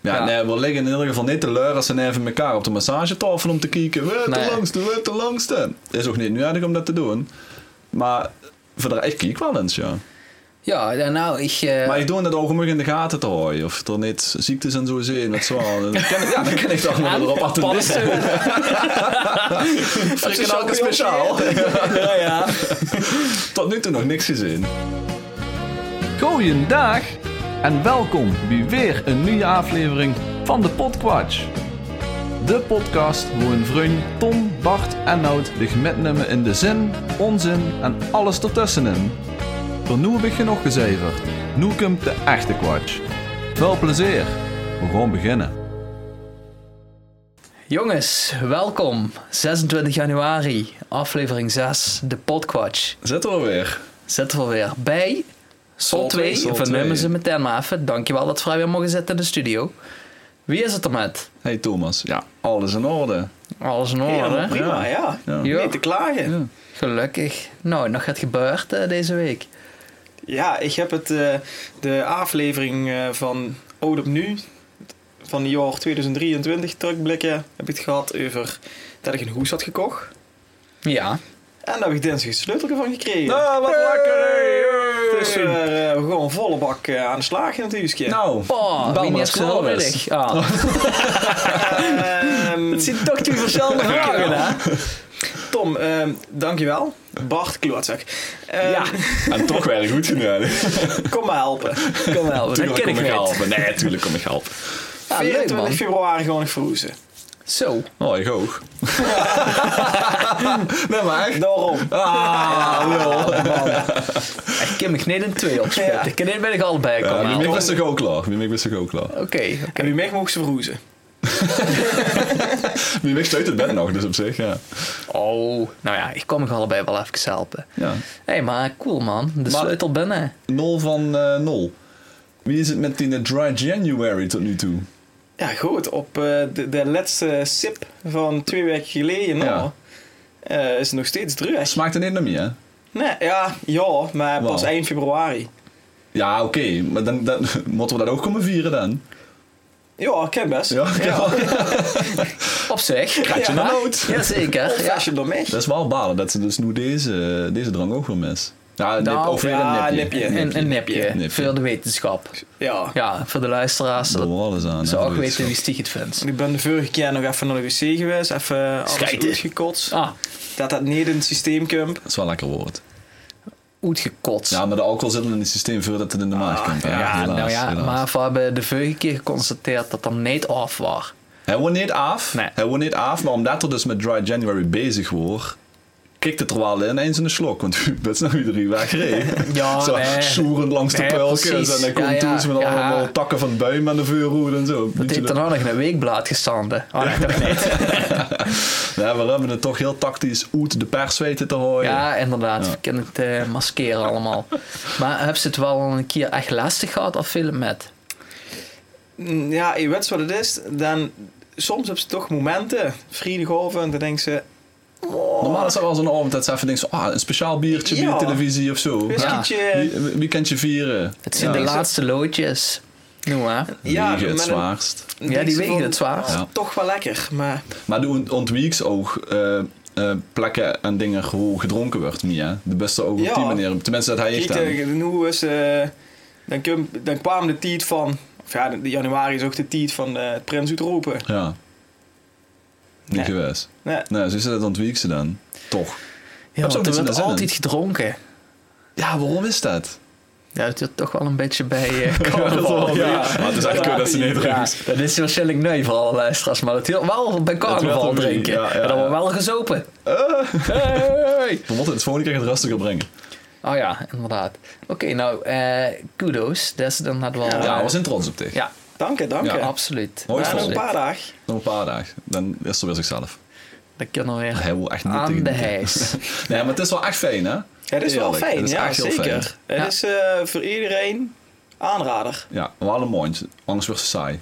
Ja, Nee, we liggen in ieder geval niet te leuren als ze even elkaar op de massagetafel om te kijken. We te Nee. langste, we te langste. Is ook niet nodig om dat te doen. Maar voor de ik kijk wel eens, ja. Ja, ja, nou, ik... eh, Maar ik doe dat ook om in de gaten te houden. Of er niet ziektes en zo zijn. Dat zo. Dan kan ik, ja, dan kan ik toch maar erop attenderen. Frikken elke speciaal. ja, ja. Tot nu toe nog niks gezien. Goeiedag en welkom bij weer een nieuwe aflevering van de Podquatch. De podcast waar een vriend Tom, Bart en Nout zich metnemen in de zin, onzin en alles ertussenin. Voor nu heb ik genoeg gezeverd. Nu komt de echte Quatch. Veel plezier. We gaan beginnen. Jongens, welkom. 26 januari, aflevering 6, de Podquatch. Zet er alweer. Zitten we weer bij Sol Sol 2. twee. We nemen ze meteen maar even. Dankjewel dat we vrij weer mogen zitten in de studio. Wie is het er met? Hey Thomas, ja, alles in orde. Alles in orde, Ja, Oh, hè? prima, ja. Ja. Ja. Niet te klagen. Ja, Gelukkig. Nou, nog het gebeurd eh, deze week. ik heb het, eh, de aflevering eh, van Ode op Nu van het jaar 2023 terugblikken. Heb ik het gehad over dat ik een hoes had gekocht. Ja. En daar heb ik dinsdag het sleutel van gekregen. Nou, wat lekker! Dus we eh, gewoon volle bak eh, aan de slag in het huisje. Nou, Oh, Bel wie maar is als het wel is. geweldig. Ah, Ehm, het zit toch twee verschillende vragen, hè? Tom, ehm, dankjewel. Bart Klootzak. Ehm, Ja, en toch weer goed gedaan. Kom me helpen. kom wel. Dat Tuurlijk ken ik kom Oh, ik helpen. niet. Nee, tuurlijk kom ik helpen. Ja, leuk, 24 man. februari gewoon nog verroezen. Zo. Oh, ik ook. nee, maar echt. Daarom. Ah, lul. Ik kan me niet in twee opsplitsen. Ja. Ik kan niet bij de allebei Ja, komen. Mimik halen. was toch ook klaar? Mimik was toch ook klaar? Oké. En wie mee mogen ze verroezen. Mimik stuit het bed nog, dus op zich, ja. Oh, nou ja, ik kom nog allebei wel even helpen. ja. Hé, hey, maar cool man. De Maar- sleutel binnen. Nul van eh, nul. Wie is het met die eh, Dry January tot nu toe? Ja, goed. Op eh, de, de laatste sip van twee weken geleden nou, Ja. eh, is het nog steeds druk. Smaakt er niet naar meer, hè? Nee, ja, ja, maar pas Wauw. eind februari. Ja, oké. Maar dan, dan moeten we dat ook komen vieren dan. Ja, ik ken best. Ja, Op zich. Krijg je Ja. een nood. Jazeker. Of Ja. als je door mij. Dat is wel balen dat ze dus nu deze, deze drank ook weer mis. Ja, nip, Nou, of weer ja, een nipje. nipje. Een, een nipje, Nipje. voor de wetenschap. Ja. Ja, voor de luisteraars. Doen Dat we alles aan. ze hè, ook zoiets. weten wie stiek het vindt. Ik ben de vorige keer nog even naar de wc geweest. Even alles Schijten. uitgekotst. Ah, Dat dat niet in het systeem komt. Dat is wel een lekker woord. uitgekotst. Ja, maar de alcohol zit al in het systeem voordat het in de maag komt. hè, Ah, Ja, Nou, helaas, nou ja, helaas. maar we hebben de vorige keer geconstateerd dat dat niet af was. Hij wordt niet af. Nee. Hij wordt niet af, maar omdat er dus met Dry January bezig wordt, kikt het er wel ineens in de slok. Want dat is nou iedereen weggereden. Ja, zo nee. soerend langs de Nee, pijltjes. precies. En dan komt Ja, ja, toen ze met ja. allemaal takken van buim aan de vuurroer en zo. Dat heeft dan ook nog in een weekblad gestanden. Oh, nee, toch niet. Ja, we hebben het toch heel tactisch uit de pers weten te houden. Ja, inderdaad. We kunnen het eh, maskeren allemaal. Maar heb ze het wel een keer echt lastig gehad of veel met? Mm, Ja, je weet wat het is. Dan, soms heb ze toch momenten. Vrijdagavond. En dan denken ze... Normaal is dat wel zo'n avond dat ze even denken, zo, ah, een speciaal biertje bij Ja. de televisie of zo. Ja. Whiskietje. Wie- Weekendje vieren. Het zijn Ja. de Ik zou- laatste loodjes. Noem maar. Ja, Wegen het maar dan- zwaarst. dan Ja, denken die ze wegen van, het zwaarst. oh, Ja. Toch wel lekker. Maar Maar de ontweeks ook eh, eh, plekken en dingen hoe gedronken wordt, niet hè? De beste ook op Ja. die manier. Tenminste, dat hij echt Kijk, aan. eh, en hoe is, eh, dan, kwam, dan kwam de tijd van... Of ja, de, de januari is ook de tijd van eh, het Prins Uitroepen. Ja. Niet Nee. geweest. Nee. Nou, zo is dat ontweeks ze dan. Toch. Ja, Heb ze ook want niet er werd zin in? altijd gedronken. Ja, waarom is dat? Ja, dat zit toch wel een beetje bij eh carnaval. Ja, Maar het is echt kut dat ze niet Ja, drinkt. dat is waarschijnlijk nee voor alle luisteraars, maar dat hield wel bij Dat carnaval werd wel drinken. niet, ja, ja, en dan ja. wordt wel gezopen. Hey. Eh. We moeten het volgende keer het rustiger brengen. Oh ja, inderdaad. Oké, nou, eh, kudos. Dat is dan wel... Ah. Ja, eh, we zijn trots op tegen. ja, Dank je, dank je. Ja, Ja, absoluut. Mooi Ja, zo. nog een absoluut. paar dagen. Nog een paar dagen. Dan is er weer zichzelf. Dat kunnen we weer Hij wil echt niet aan tegen de die- hijs. Nee, maar het is wel echt fijn, hè? Ja, dat is wel Eerlijk, fijn. dat is ja, echt heel zeker. Het Ja. is eh, voor iedereen aanrader. Ja, wel een mondje. Anders wordt ze saai.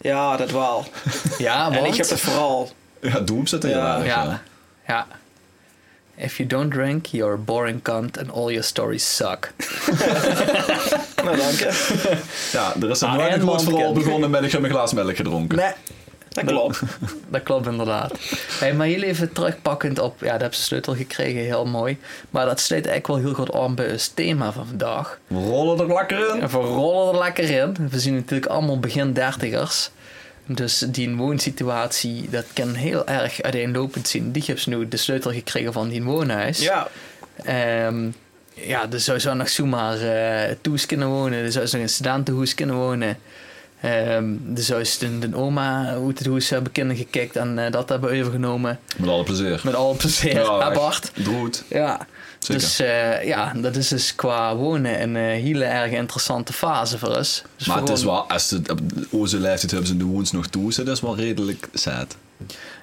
Ja, dat wel. Ja, want... En ik heb het vooral... Ja, Doom zit er heel Ja. erg, Ja, ja. If you don't drink, you're a boring cunt and all your stories suck. Nou, dank je. Ja, er is nog Ah, nooit en een groot verhaal Monken. begonnen met ik heb een glas melk gedronken. Nee. Dat klopt. Dat klopt inderdaad. Hey, maar jullie even terugpakkend op, ja, dat heb ze sleutel gekregen, heel mooi. Maar dat sluit eigenlijk wel heel goed aan bij ons thema van vandaag. We rollen er lekker in. En we rollen er lekker in. We zien natuurlijk allemaal begin dertigers. Dus die woonsituatie, dat kan heel erg uiteenlopend zien. Die heeft nu de sleutel gekregen van die woonhuis. Ja, Ehm, ja, dus zou zou nog zomaar eh thuis kunnen wonen. Er zou ze nog in studentenhuis kunnen wonen. Ehm er zou ze de, de oma uit het huis hebben kunnen gekeken en eh, dat hebben overgenomen. Met alle plezier. Met alle plezier. Ja, Ja, echt. Bart. Droed. Ja. Zeker. Dus eh, ja, dat is dus qua wonen een eh, hele erg interessante fase voor ons. Dus maar voor het is ons- wel, als ze op onze leeftijd hebben ze de woens nog toe, dus dat is wel redelijk sad.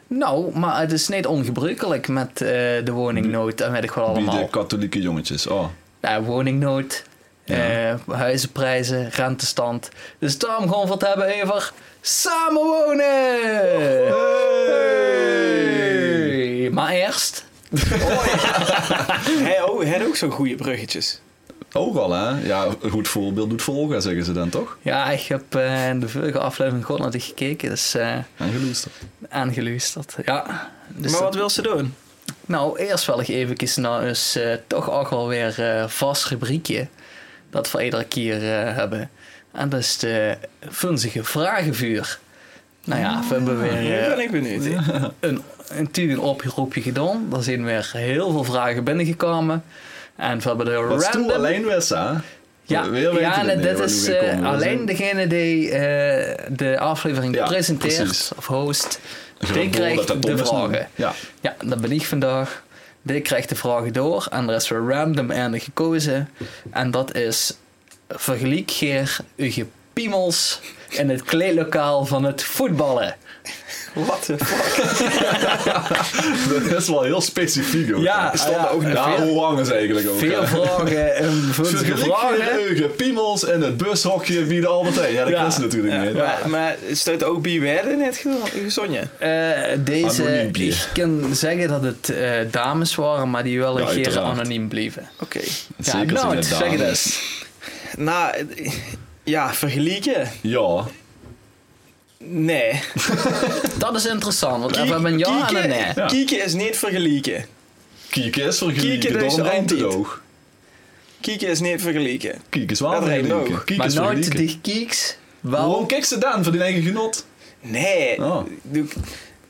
Nou, maar het is niet ongebruikelijk met eh, de woningnood en weet ik wel Bij de allemaal. katholieke jongetjes. Oh, Nou, woningnood, Ja. eh, huizenprijzen, rentestand. Dus daarom gewoon wat hebben over samenwonen! Hey! Maar eerst, hij, oh, hij had ook zo'n goede bruggetjes. ook al hè? Ja, een goed voorbeeld doet volgen, zeggen ze dan toch? ja, ik heb eh, in de vorige aflevering gewoon naar die gekeken, dus eh En geloesterd. aangeluisterd. Ja. Dus maar dat- wat wil ze doen? Nou, eerst wel even naar ons eh, toch ook wel weer eh, vast rubriekje dat we iedere keer eh, hebben. En dat is de vunzige vragenvuur. Nou ja, we hebben weer Ah, Nu eh, ben ik benieuwd. een, natuurlijk een oproepje gedaan. Er zijn weer heel veel vragen binnengekomen. En we hebben de Wat random... stoel alleen was hè? Ja, Weer weten ja we nee, niet dit waar is we eh, gaan komen. We alleen zijn- degene die eh, de aflevering Ja, presenteert precies. of host. Gewoon Die door dat dat krijgt dom de is vragen. noemen. Ja. Ja, dat ben ik vandaag. Die krijgt de vragen door en er is weer random einde gekozen. En dat is vergelijk Geer uw piemels in het kleedlokaal van het voetballen. Wat de fuck? Dat is wel heel specifiek ook. Ja, Er stonden ja. ook En daar veel- hoe lang is eigenlijk ook. Veel hè? vragen, en vunzige Vergelijk vragen. je Eugen Piemels en het bushokje wie de Albert Heijn. Ja, dat Ja. kan ze natuurlijk Ja, niet. maar, maar stond ook Beware in het gezonje? Eh, deze, Anoniem bier. ik kan zeggen dat het eh, dames waren, maar die wel Ja, een keer uiteraard. anoniem bleven. Oké. Zeker ja, nou, zijn het zeg het dames. eens. Nou, ja, vergelijken? Ja, Nee. Dat is interessant, want we hebben een ja en kieken, een nee. Ja. kieken is niet vergelijken. kieken is Kieken vergeleken dus door een ook eindeloog. Kieken is niet vergelijken. Kieken is Dat wel rijmt vergeleken. ook. Kieken Maar is nooit vergeleken. die kieks, Waarom wel. kijk ze dan voor die eigen genot? Nee. Oh. Doe ik-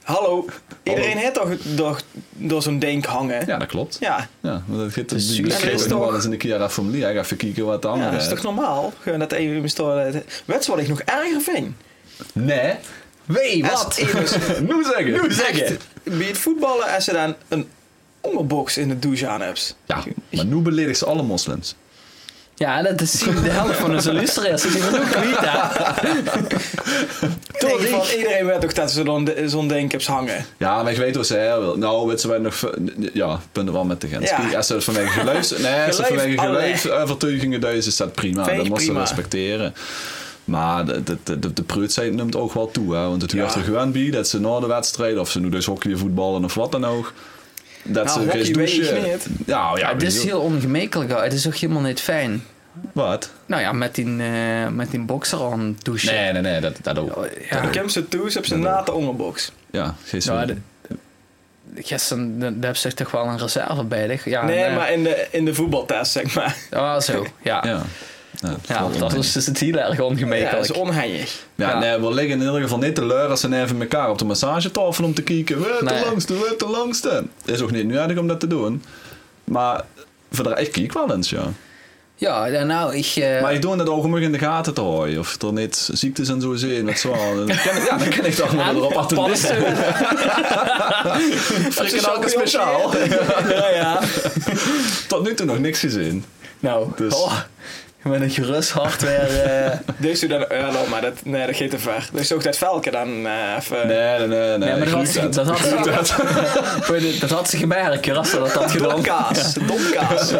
Hallo. Iedereen heeft toch door, door zo'n denk hangen? Ja, dat klopt. Ja, Ja, want dat gaat Dus dus jullie ook zijn nog wel toch- eens in de Kiara familie. Hij gaat even kijken wat de ja, andere dat is toch heeft. normaal? Gewoon dat even bestoren. Weet je wat ik nog erger vind? Nee, Wee, Als wat? iemand nu zeggen. Nu echt bij het voetballen als ze dan een onderbox in de douche aan hebt. Ja, maar nu beledig ze alle moslims. Ja, dat is de helft van onze luisteraars. Die van ook niet, hè? Ik denk van, iedereen weet toch dat ze dan de- zo'n denkcaps hangen. Ja, maar ik weet hoe ze hè, wil. Nou, weet ze wij nog... Ja, punten wel met de grens. Ja. Kijk, Als ze het vanwege geluid... Nee, als ze het Geluid, vanwege allerlei. geluidsovertuigingen duizen, dus is dat prima. Vind ik dat moet ze prima. respecteren. Maar de, de, de, de, de preutsheid neemt ook wel toe. Hè, want het Ja. hoort er gewoon bij dat ze na de wedstrijd... of ze nu dus hockey voetballen of wat dan ook... Dat Nou, ze hockey geen weet ik douchen... Nou, niet. Ja, ja, Ja, het weet is ik heel ongemakkelijk, hè. het is ook helemaal niet fijn. ook. Wat? Nou ja, met die, eh, met die boxer aan douchen. Nee, nee, nee, dat, dat ook. Ja. Ik heb ze toe, ze hebben ze na de onderbox. Ja, geen Nou, zin. Gisteren, daar heb ze toch wel een reserve bij. Dich? Ja, Nee, en, eh, maar in de, in de voetbaltest, zeg maar. Ah, zo, ja. Ja. Ja, Ja, dat is dus het heel erg Ja, dat ongemakkelijk. is onhandig. Ja, Ja. Nee, we liggen in ieder geval niet te leuren als ze even elkaar op de massagetafel om te kijken. Wat de Nee. langste, wat de langste. Is ook niet nodig om dat te doen. Maar voor de, ik kijk wel eens, ja. ja, ja, nou, ik... eh, Maar ik doe dat ook om in de gaten te houden. Of er niet ziektes en zo zijn. Dat zo. Dan kan ik, ja, dan kan ik toch maar erop attenderen. paddenstoelen. Frikken ook speciaal. ja, ja. Tot nu toe nog niks gezien. Nou, Dus- oh, met een gerust hart weer... eh, Deze doet dan Earl, maar dat, nee, dat gaat te ver. Dus ook dat velken dan eh, even... Nee, nee, nee. nee. Ja, maar ik doe dat had, ze, dat, had Ik doe ze, dat. Weet je, dat had ze gemerkt, ja, als ze dat had gedaan. Domkaas, domkaas.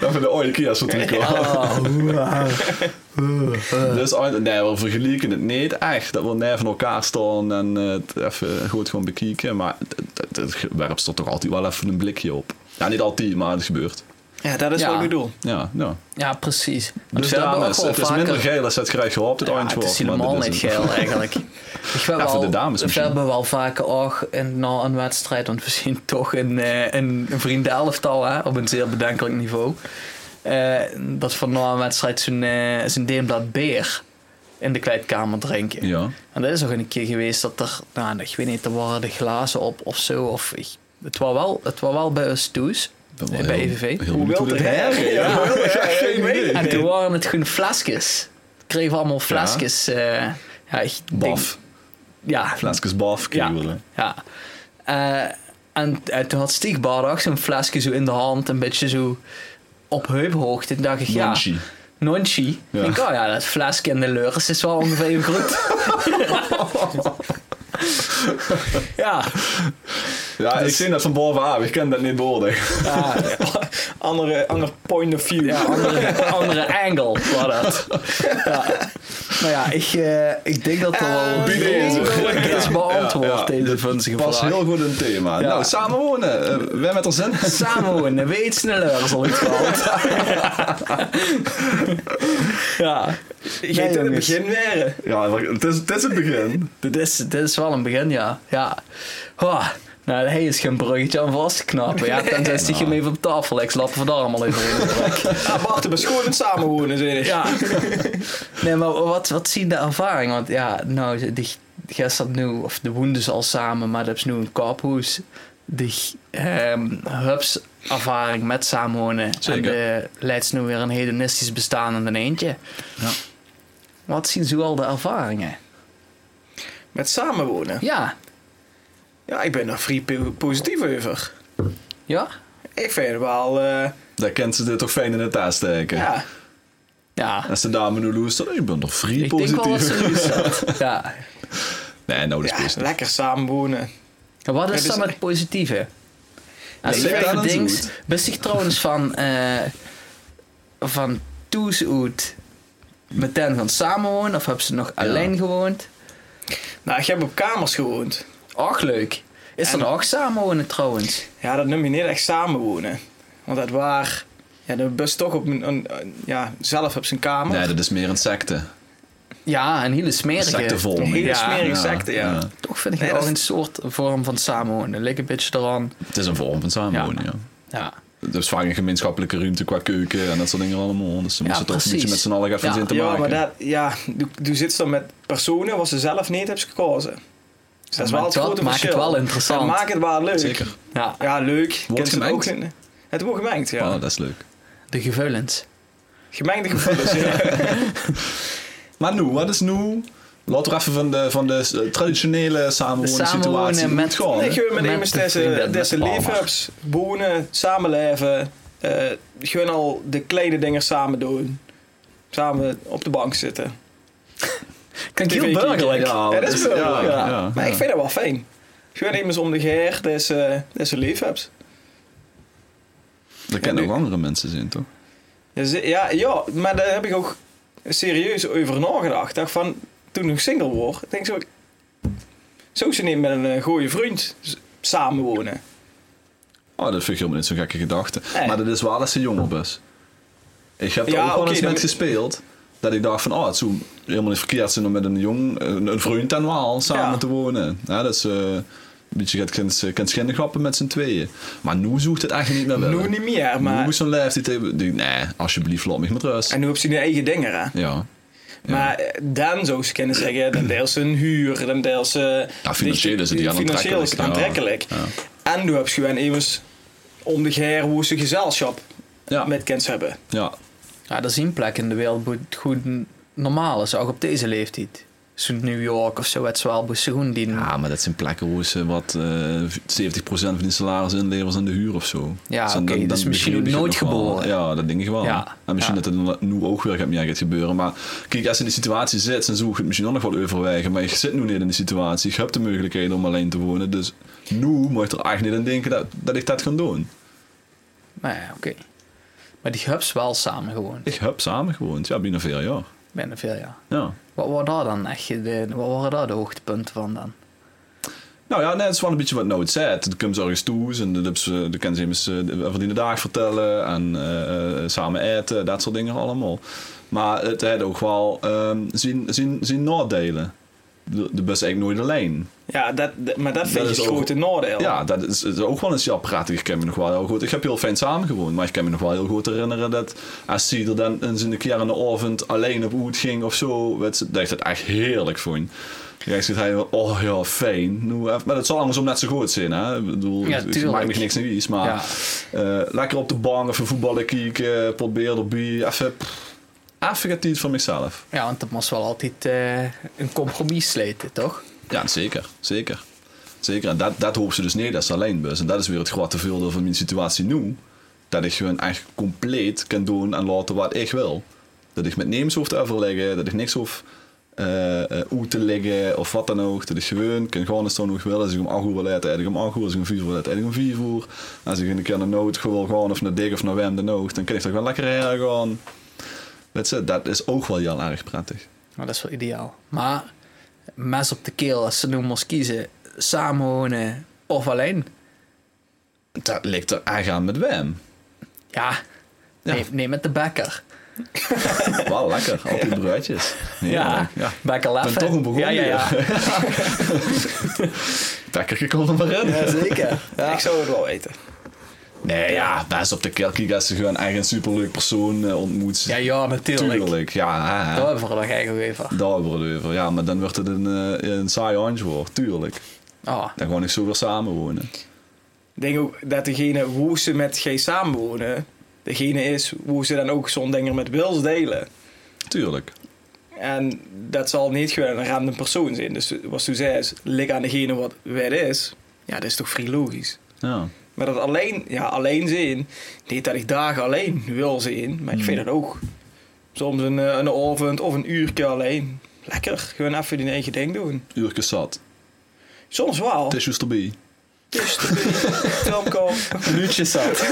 Dat we de ooie Kia zo terugkomen. Oh, Dus eh, nee, we vergelijken het niet echt. Dat we nee van elkaar staan en eh, het even goed gewoon bekijken. Maar het- het het werpt er toch altijd wel even een blikje op. Ja, niet altijd, maar het gebeurt. Ja, dat is Ja. wat ik bedoel. Ja, ja. Ja, precies. Dus Want Dus we hebben dames, ook wel het is vaker- minder geil als het graag gehoopt, het Ja, antwoord. het is maar helemaal dit niet hem. geil eigenlijk. Ik wil dus Ja, voor wel- de dames We misschien. hebben wel vaker ook in, na een wedstrijd, want we zien toch een, eh een, een vriendenelftal hè, op een zeer bedenkelijk niveau. eh, dat van na een wedstrijd zijn, eh zijn deemblad beer in de kleedkamer drinken. Ja. En dat is nog een keer geweest dat er, nou, ik weet niet, er waren de glazen op of zo. Of, ik- het, was wel, het was wel bij ons thuis, Dat Eh, bij E wel heel- EVV. Heel benieuwd hoe dit her- her- Ja, hoewel de her- ik weet het En niet. toen waren het gewoon flesjes. Kregen we allemaal flesjes. Ja. ja, ik denk- Baf. ja, Flesjes baf Ja. kriebelen. ja. Eh, en, en toen had Stieg Bardag zo'n flesje zo in de hand, een beetje zo op heuphoogte. Toen dacht ik, ja, Nonchi. nonchi. Ja. Ik denk, oh ja, dat flesje en de leurs is wel ongeveer even groot. ja, Ja, ik zie dat van bovenaf. Ik ken dat niet beoordelen. ja, Andere, ander point of view. ja, andere, andere angle was dat. Ja. Nou ja, ik, eh, ik denk dat er wel die deze. redelijk is beantwoord, Eh, Ja, ja. deze vunzige Pas vraag. heel goed in het thema. Ja. Nou, samenwonen. Eh, wij met ons zin. Samenwonen, weet sneller, zal ik het Ja, Je hebt in het jongens. begin weer. Ja, maar het is, het is het begin. dit is, dit is wel een begin, ja. ja. Ho, nou, hij is geen bruggetje aan vast te knappen. Ja, tenzij is stiekem even op tafel. Ik slap er daar allemaal even in. Ah, Bart, we schoonend samenwonen, zeg ik. Ja. Nee, maar wat, wat zien de ervaring? Want ja, nou, die gisteren nu, of de woenden al samen, maar dat is nu een kaaphoes. Die ehm hubs ervaring met samenwonen. Zeker. En de leidt nu weer een hedonistisch bestaan aan een eentje. Ja. Wat zien ze al de ervaringen? Met samenwonen. Ja. Ja, ik ben daar vrij po- positief over. Ja? Ik vind het wel, eh, Daar kent ze dit toch fijn in het aansteken. ja. Ja. Als de dame nu luistert, ik ben toch vrij Ik denk wel dat positief. ze nu zat. Ja. Nee, nou, dat is ja, positief. lekker samenwonen. En Wat Ja, is dus- dan het positieve? Ja, Als ligt je aan even ons denkt, goed. wist ik trouwens van, eh van Toes uit met hen gaan samenwonen of hebben ze nog alleen gewoond? Nou, ik heb op kamers gewoond. Och, leuk. Is En- er nog samenwonen trouwens? Ja, dat noem je niet echt samenwonen. Want dat waar... Ja, de bus toch op een, een- een- ja, zelf op zijn kamer. Nee, dat is meer een secte. Ja, een hele Een smerige. secte vol. Een hele Ja. smerige secte, ja. Toch vind ik Nee, het dat ook een is- soort vorm van samenwonen. Ligt een beetje eraan. Het is een vorm van samenwonen, ja. Ja, Er is vaak een gemeenschappelijke ruimte qua keuken en dat soort dingen allemaal. Dus dan Ja, moet je toch een precies. beetje met z'n allen gaan Ja. zin te Ja, maken. maar dat, ja, toen- toen zit ze dan met personen wat ze zelf niet hebben gekozen. Dus dat is Maar wel het dat grote maakt het verschil. wel interessant. Dat maakt het wel leuk. Zeker. ja. Ja, leuk. Kent ze het gemengd? Ook, in- het wordt gemengd, ja. Oh, dat is leuk. de gevoelens. Gemengde gevoelens, ja. Maar nu, wat is nu? Laten we even van de, van de eh, traditionele samenwonen Samenwonen situatie met- gaan. Nee, hè? gewoon Met met de vrienden, deze, deze met de leefhubs. Wonen, samenleven. eh gewoon al de kleine dingen samen doen. Samen op de bank zitten. Klinkt heel TV kijken. burgerlijk. Ja, Ja, dat is wel ja, leuk, ja, ja. ja. Maar ik vind dat wel fijn. Gewoon even om de geer deze, deze leefhubs. Er kennen ook andere mensen zijn, toch? Ja, ze- Ja, ja, maar daar heb ik ook serieus over nagedacht. Dacht van, toen ik single was, denk ik zo... Zo ze niet met een eh, goede vriend s- samenwonen. Oh, dat vind ik helemaal niet zo'n gekke gedachte. Nee. Maar dat is wel als een jongerbus. Ik heb er Ja, ook wel oké, eens dan- met gespeeld. Dat ik dacht van, oh, het zou helemaal niet verkeerd zijn om met een jong, een, een vriend en wel samen Ja. te wonen. Ja, dat is eh, een beetje gaat kind, kind schendig grappen met z'n tweeën. Maar nu zoekt het echt niet meer wel. Nu niet meer, Nu maar... moet zo'n lijf die, tegen- die- nee, alsjeblieft, laat me met rust. En nu heb ze hun eigen dingen, hè. Ja. Maar eh, dan zou ze kunnen zeggen, dan deelt ze een huur, dan deelt ze... Ja, financieel is het die Financieel is het aantrekkelijk. Ja. En nu heb je gewoon even om de geer hoe ze gezelschap Ja. met kent hebben. ja. Ja, er zijn plekken in de wereld waar het goed normaal is, ook op deze leeftijd. Zo'n New York of zo, het zwaar gewoon die. Ja, maar dat zijn plekken hoe ze wat eh 70% van die salaris inleveren aan de huur of zo. Ja, Dus dan- oké, dan- dat is dan misschien begrijp je nooit het nog wel. geboren. Ja, dat denk ik wel. Ja. En misschien Ja. dat het nu ook weer gaat, meer gaat gebeuren. Maar kijk, als je in die situatie zit, dan zoek je het misschien ook nog wel overwegen. Maar je zit nu niet in die situatie. Je hebt de mogelijkheden om alleen te wonen. Dus nu moet je er echt niet aan denken dat, dat ik dat kan doen. Maar ja, oké. Maar die hubs wel samen gewoon, Ik heb samen gewoond. Ja, binnen vier jaar. binnen veel jaar. Ja. Wat waren daar dan echt, de, wat waren daar de hoogtepunten van dan? Nou ja, nee, het is wel een beetje wat Noot zegt. Dan komen ze ergens toe en eh, dan, hebben ze- dan kunnen ze hem eens van die dag vertellen en eh, eh, samen eten, dat soort dingen allemaal. Maar het heeft ook wel ehm zijn, zijn, zijn nadelen. De, de bus eigenlijk nooit alleen. Ja, dat, dat- maar dat vind is je het ook- grote nadeel. Ja, dat is, is ook wel een sjappraat. Ik ken me nog wel heel goed. Ik heb heel fijn samengewoond, maar ik kan me nog wel heel goed herinneren dat als hij er dan eens in de keer in de avond alleen op uit ging of zo, weet ze- dat ik dat echt heerlijk vond. Ja, zit hij wel, oh ja, fijn. Nou, even- Maar dat zal andersom net zo goed zijn, hè? Ik bedoel, Ja, het tuurlijk. maakt me niks niet iets, maar Ja. eh, lekker op de bank, even voetballen kijken, pot bier erbij, even... pff, Even het iets van mezelf. Ja, want dat moest wel altijd eh, een compromis sleten, toch? Ja, zeker. Zeker. Zeker. En dat, dat hoopt ze dus niet, dat is alleen bus. En dat is weer het grote voordeel van mijn situatie nu. Dat ik gewoon echt compleet kan doen en laten wat ik wil. Dat ik met neems hoef te overleggen, dat ik niks hoef eh eh, uit te leggen of wat dan ook. Dat ik gewoon kan gaan eens doen hoe ik wil. Als ik om 8 uur wil eten, eet ik om 8 uur. Als ik om 4 uur wil eten, eet ik om 4 uur. Als ik een keer naar Noot wil gaan of naar Dick of naar Wem dan ook, dan kan ik toch wel lekker heen gaan. Weet je, dat is ook wel heel erg prettig. Nou, dat is wel ideaal. Maar mes op de keel, als ze nu moest kiezen, samenwonen of alleen. Dat ligt er echt aan met Wem. Ja, Ja. Nee, nee, met de bekker. Wel lekker, al die bruidjes. Ja, ja. bekker Ik ben laffen. toch een begonnen. Ja, ja, ja. Lekker, ik kon er maar in. zeker. Ik zou het wel weten. Nee, ja, best op de kerk. Als je gewoon echt een superleuk persoon eh, ontmoet. Ja, ja, natuurlijk. Tuurlijk, ja. hè, hè. Daar hebben we nog eigenlijk even. Daar hebben we het over. Ja, maar dan wordt het een, eh, een saai antwoord. Tuurlijk. Oh, Dan gewoon ik zo weer samenwonen. Ik denk ook dat degene hoe ze met G samenwonen, degene is hoe ze dan ook zo'n dinger met Wils delen. Tuurlijk. En dat zal niet gewoon een random persoon zijn. Dus wat ze zei is, lig aan degene wat wet is. Ja, dat is toch vrij logisch. Ja. Maar dat alleen, ja, alleen zijn. Niet dat ik dagen alleen wil zijn, maar ik Hmm. vind het ook. Soms een, eh, een avond of een uurtje alleen. Lekker, gewoon even die eigen ding doen. Uurke Oh. zat. Soms wel. Tissues erbij. Dus, filmkoop. minuutjes zat.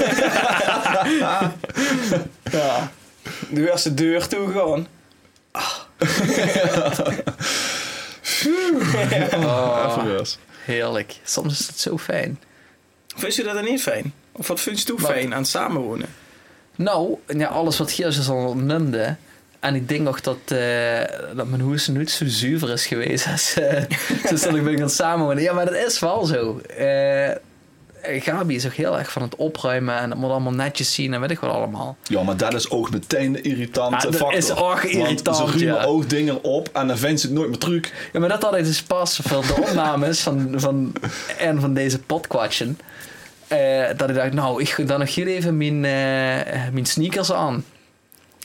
Ja. Nu als de deur toe gewoon. Oh, Even rust. heerlijk. Soms is het zo fijn. Vind je dat dan niet fijn? Of wat vind je toe Wat? fijn aan het samenwonen? Nou, ja, alles wat Geers is al noemde. En ik denk nog dat, eh, dat mijn hoes nooit zo zuiver is geweest als eh, sinds dat ik ben gaan samenwonen. Ja, maar dat is wel zo. Eh, Gabi is ook heel erg van het opruimen en het moet allemaal netjes zien en weet ik wat allemaal. Ja, maar dat is ook meteen de Ah, irritante dat factor. is ook irritant, Want ze ruimen ja. ook dingen op en dan vindt ze het nooit meer truc. Ja, maar dat had ik dus pas van de opnames van, van, en van deze podquatchen. eh, dat ik dacht, nou, ik doe dan nog hier even mijn, eh, mijn sneakers aan.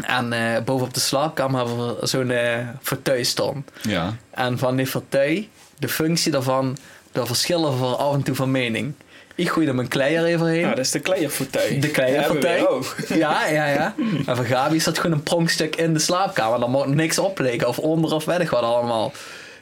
En eh bovenop de slaapkamer hebben we zo'n eh fauteuil staan. Ja. En van die fauteuil, de functie daarvan, daar verschillen we af en toe van mening. Ik gooi er mijn klei er even heen. Nou, dat is de kleierfauteuil. De Die hebben we kleierpartij. weer ook. Ja, ja, ja. En van Gabi zat gewoon een pronkstuk in de slaapkamer. Dan mocht niks opleken of onder of weet ik wat allemaal.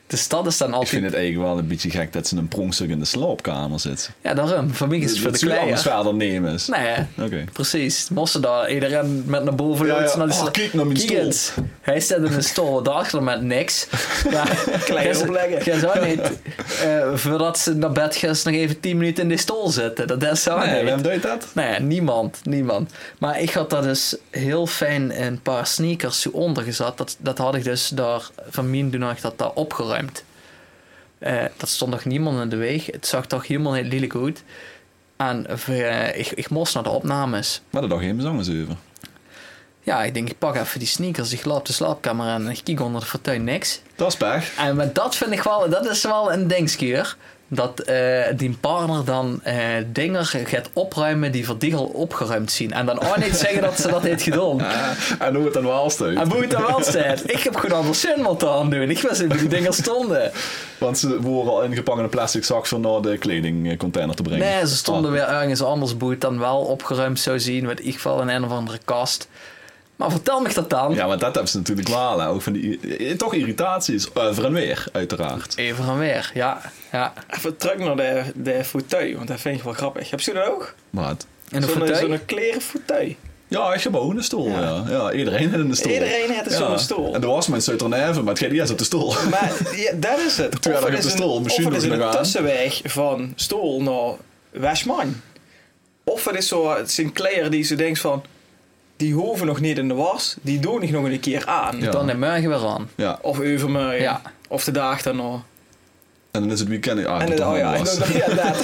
Dus dat is dan Ik altijd... vind het eigenlijk wel een beetje gek dat ze een pronkstuk in de slaapkamer zit. Ja, daarom. Voor mij is het voor de anders kleier. verder nemen is. Nee, hè. Oké. precies. Mossen daar. Iedereen met naar boven Ja, loopt. ja. naar die Oh, sla- kijk naar mijn stoel. eens. Hij staat in een stoel. Daarachter met niks. Maar Klei gij- opleggen. gij zou niet... eh, voordat ze naar bed gaan, ze nog even 10 minuten in die stoel zitten. Dat is zo Nee, niet. waarom doe je dat? Nou ja, niemand, niemand. Maar ik had dat dus heel fijn in een paar sneakers zo ondergezet. Dat, dat had ik dus daar, van mijn doen had ik dat daar opgeruimd. Eh, dat stond nog niemand in de weg. Het zag toch helemaal heel lelijk uit. En eh, ik, ik moest naar de opnames. Maar dat nog geen bezongen over. Ja, ik denk, ik pak even die sneakers, ik loop de slaapkamer aan en ik kijk onder de fortuin niks. Dat is pech. En maar dat vind ik wel, dat is wel een dingskeer. Dat eh, die partner dan eh dingen gaat opruimen die voor die al opgeruimd zien. En dan ook niet zeggen dat ze dat heeft gedaan. en hoe het dan wel En steunt. boeit dan wel staat. Ik heb gewoon anders zin wat aan doen. Ik wist niet hoe die dingen stonden. Want ze worden al ingepakt in een plastic zak voor naar de kledingcontainer te brengen. Nee, ze stonden Ah. weer ergens anders boeit dan wel opgeruimd zou zien. Met in ieder geval in een of andere kast. Maar vertel me dat dan. Ja, maar dat hebben ze natuurlijk wel. hè. Ook van die, eh, toch irritaties. Over en weer, uiteraard. Even en weer, ja. ja. Even terug naar de, de fauteuil, want dat vind ik wel grappig. Heb je dat ook? Maar het- In de Zo'n fauteuil? zo'n kleren fauteuil. Ja, ik heb ook een stoel. Ja. Ja. iedereen had een stoel. Iedereen had een zo'n stoel. En er was mijn Suiterneven, maar het gaat niet eens op de stoel. Maar ja, dat is het. Toen had Of ik het op is de stoel, een, misschien of het is nog een aan. tussenweg van stoel naar Westman. Of het is zo het Sinclair die ze denkt van... Die hoeven nog niet in de was, die doen ik nog een keer aan. Ja. Dan in morgen weer aan. Ja, Of overmorgen. Ja. Of de dag daarna. en dan is het weekend. Ah, En dat dan- dan oh ja, en was. dan- ja, dat.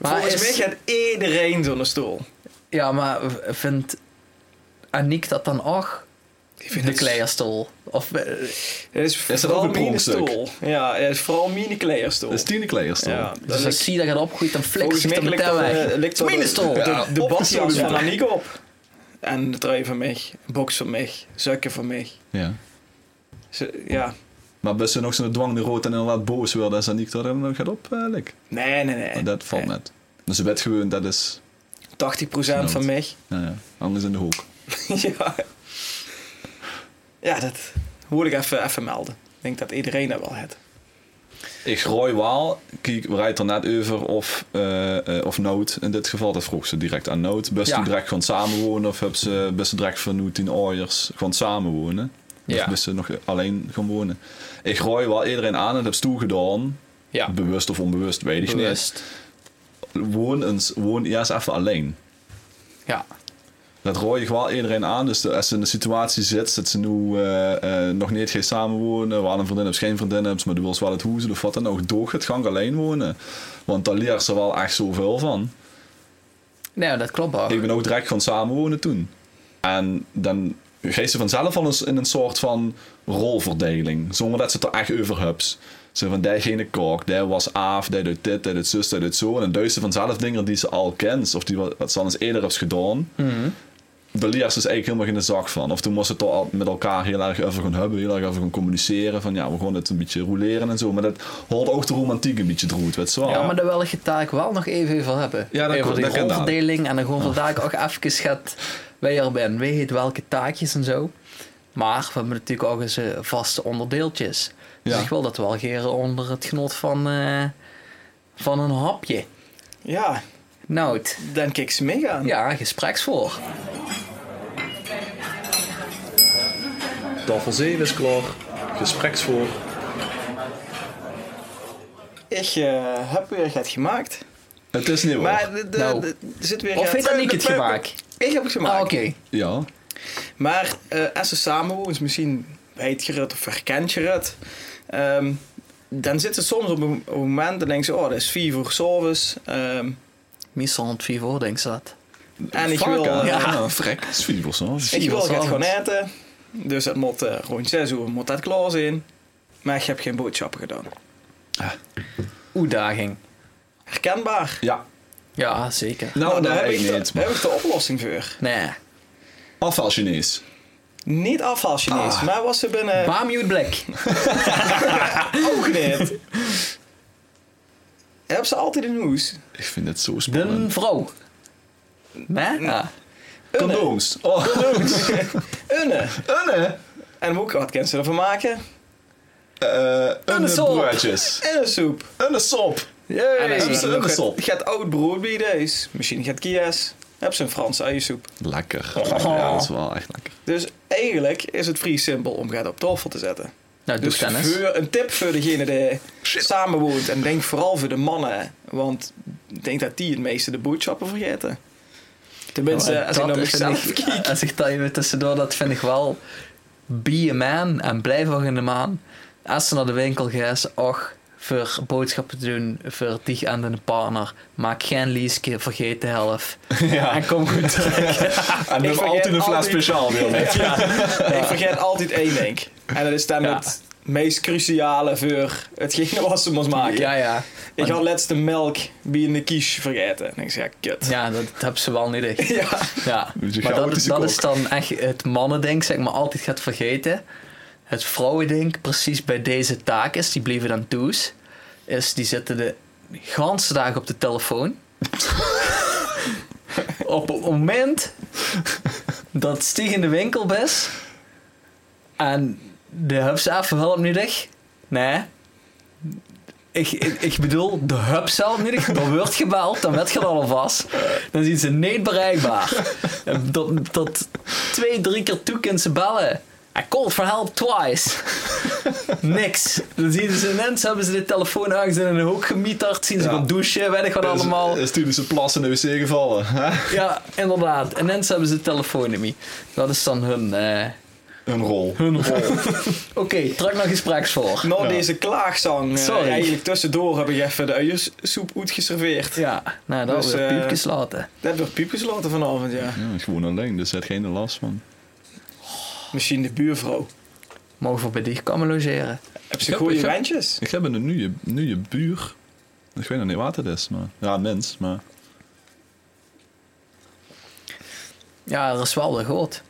Maar Volgens is- mij gaat iedereen zo'n stoel. Ja, maar v- vindt Aniek dat dan ook? De kleerstoel. Of, eh, Het is, dat vooral ook een mini pronkstuk? Dus stoel. Ja, het is vooral mini kleerstoel. Dat is Tine Kleerstoel. Ja, dat dus is- als zie dat je erop groeit, dan flikker Volgens je mij er ligt meteen dat, weg. eh, ligt Het is dat- mijn stoel. Ja. de badjas Opgezogen. van Aniek op. En de trui van mij, een box van mij, zakken van mij. Ja. Ze- ja. Maar best nog zo'n dwang die rood en inderdaad boos wil, dat is dan niet dat hem gaat op, eh, Lik. Nee, nee, nee. Maar Oh, dat eh. valt Nee. net. Dus je bent gewoon, dat is, 80% van mij. nou ja, anders in de hoek. ja. ja, dat moet ik even, even melden. Ik denk dat iedereen dat wel heeft. Ik rooi Waal, kijk, we rijden er net over of, eh, eh, of Nood in dit geval. Dat vroeg ze direct aan Nood. Best Ja. ze direct gewoon samenwonen of hebben ze best direct vanuit in Ooyers gewoon samenwonen? Ja. Of best ze nog alleen gaan wonen? Ik rooi wel iedereen aan en heb ze toegedaan. Ja. Bewust of onbewust, weet ik Bewust. niet. Woon, eens, woon eerst even alleen. Ja. Dat rooi ik wel iedereen aan. Dus de- als ze in de situatie zit, dat ze nu eh, eh, nog niet geen samenwonen, waar een vriendin hebt, geen vriendin hebt, maar die wil ze wel het hoezen of wat dan ook, door het gang alleen wonen. Want daar leert ze wel echt zoveel van. Nee, dat klopt ook. Ik ben ook direct gaan samenwonen toen. En dan geeft ze vanzelf al eens in een soort van rolverdeling. Zonder dat ze het er echt over hebt. Ze van, diegene kook, die was af, die doet dit, die doet zus, die doet zo. En dan duist ze vanzelf dingen die ze al kent. Of die wat wat ze al eens eerder hebt gedaan. Daar leert ze dus eigenlijk helemaal geen zak van. Of toen moest ze het er al met elkaar heel erg over gaan hebben. Heel erg over gaan communiceren. Van ja, we gaan het een beetje roleren en zo. Maar dat hoort ook de romantiek een beetje eruit, weet je wel. Ja, maar daar wil ik het taak wel nog even over hebben. Ja, dat over klopt, die dat kan dadelijk. rolverdeling en dan gewoon vandaag ook even gaat wie er bent, weet welke taakjes en zo. Maar we hebben natuurlijk ook eens eh, vaste onderdeeltjes. Dus Ja. ik wil dat wel geren onder het genot van, eh, van een hapje. Ja, Nou, het- dan kijk ze mee aan. ja, gespreksvoor. Tafel 7 is klaar. Gespreksvoor. Ik eh, heb weer het gemaakt. Het is niet waar. Maar de- de- Nou. de- er zit weer Of het- heeft dat niet het gemaakt? Ik heb het gemaakt. Ah, oké. Ja. Maar eh, als ze samenwoont, misschien weet je het of herkent je het. ehm, dan zit het soms op een op een moment en denken ze, oh, dat is vier voor s'avonds. ehm, Meestal om twee voor, denk ik dat. en ik Vaak, wil, hè? eh, Ja, vrek. Dat is vier voor zo'n. ik wil het s'avonds. gewoon eten. Dus het moet eh, rond zes uur moet dat klaar zijn. Maar ik heb geen boodschappen gedaan. Ah. Uitdaging. Herkenbaar. Ja. Ja, zeker. Nou, daar dat heb, heb ik ik eh, de- niet. daar heb ik de oplossing voor. Nee. Afval Chinees. Niet afval Chinees, Ah. maar was ze binnen Baamjoed blik. ook niet. Heb ze altijd een hoes? Ik vind het zo De spannend. vrouw. Nee? Mm. Ja. Condooms. Oh, Unne. unne. En ook wat kunnen ze ervan maken? Eh unne soep. broertjes. En een soep. Unne sop. Jee. En een soep. En een sop. Je gaat oud brood bij deze. Misschien gaat Kias. Heb ze een Franse eiersoep. Lekker. Oh. Ja, dat is wel echt lekker. Dus eigenlijk is het vrij simpel om het op tafel te zetten. Nou, doe Dus tennis. voor, een tip voor degene die samenwoont. En denk vooral voor de mannen. Want ik denk dat die het meeste de boodschappen vergeten. Tenminste, Ja, als ik Nou, eh, dat naar mezelf vind ik- kijk. Als ik dat even tussendoor, dat vind ik wel... Be a man en blijf ook in de maan. Als ze naar de winkel gaat, och, voor boodschappen te doen, voor die en een partner. Maak geen leaske, vergeet de helft. Ja. En kom goed terug. En we hebben vergeet altijd een fles altijd- speciaal weer met. Ik vergeet altijd één ding. En dat is dan Ja. het meest cruciale voor hetgene wat ze moest maken. Ja, ja. Ik had laatst de melk bij in de quiche vergeten. En ik zei, ja, kut. Ja, dat hebben ze wel niet echt. Ja. Ja. Dus je Maar dat, is- chaotische dat kok. is dan echt het mannending, zeg maar, altijd gaat vergeten. Het vrouwending, precies bij deze taak is, die blijven dan toes, is die zitten de ganse dag op de telefoon. op het moment dat Stieg in de winkel is en de hubs even hulp nodig, nee, Ik, ik, ik bedoel, de hub zelf niet. Er wordt gebeld, dan werd je er al vast. Dan zien ze niet bereikbaar. En Tot, tot twee, drie keer toe kunnen ze bellen. I called for help twice. Niks. Dan zien ze mensen, hebben ze de telefoon aangezet in een hoek gemieterd. Zien ze Ja. dus gaan douchen, weet ik wat allemaal. Is, eh. is toen zijn plas in de wc gevallen. Hè? Ja, inderdaad. En mensen hebben ze de telefoon niet meer. Dat is dan hun, eh, Een rol. hun rol. Oké, trek nog gespreks voor. Nou, Ja. deze klaagzang. eh, Sorry. eigenlijk tussendoor heb ik even de uiensoep uitgeserveerd. Ja, nou, dat Dus, was weer eh, piepjes laten. Dat wordt piepjes laten vanavond, ja. Ja, is gewoon alleen, dus zet geen last van. Misschien de buurvrouw. Mogen we bij die komen logeren? Heb Ik ze heb- goede ik heb- wijntjes? Ik heb een nieuwe, nieuwe buur. Ik weet nog niet wat het is, maar... Ja, mens, maar... Ja, dat is wel weer goed.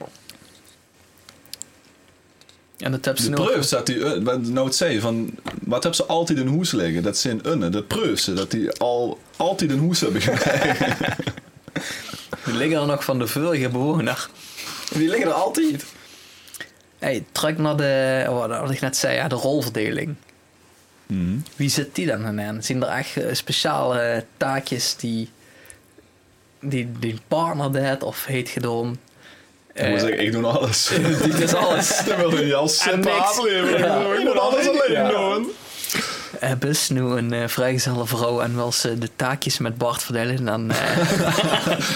En dat heb ze De nog... preus dat die... eh, wat Nou, het zei van... Wat hebben ze altijd in hoes liggen? Dat zijn unne. De preuzen, dat die al altijd in hoes hebben gekregen. Die liggen er nog van de vorige bewoner. Die liggen er altijd. hey, trek naar de... oh, Wat, wat ik net zei, ja, de rolverdeling. Mhm. Wie zit die dan in? Zijn er echt eh, speciale taakjes die... Die, die partner deed of heet gedom? Ik moet zeggen, ik doe alles. dit is alles. Dan wil je als En simpel niks. afleveren. Ja. Ik moet alles alleen Ja. doen. Hebben ze nu een eh, vrijgezelle vrouw en wil ze de taakjes met Bart verdelen, dan... eh,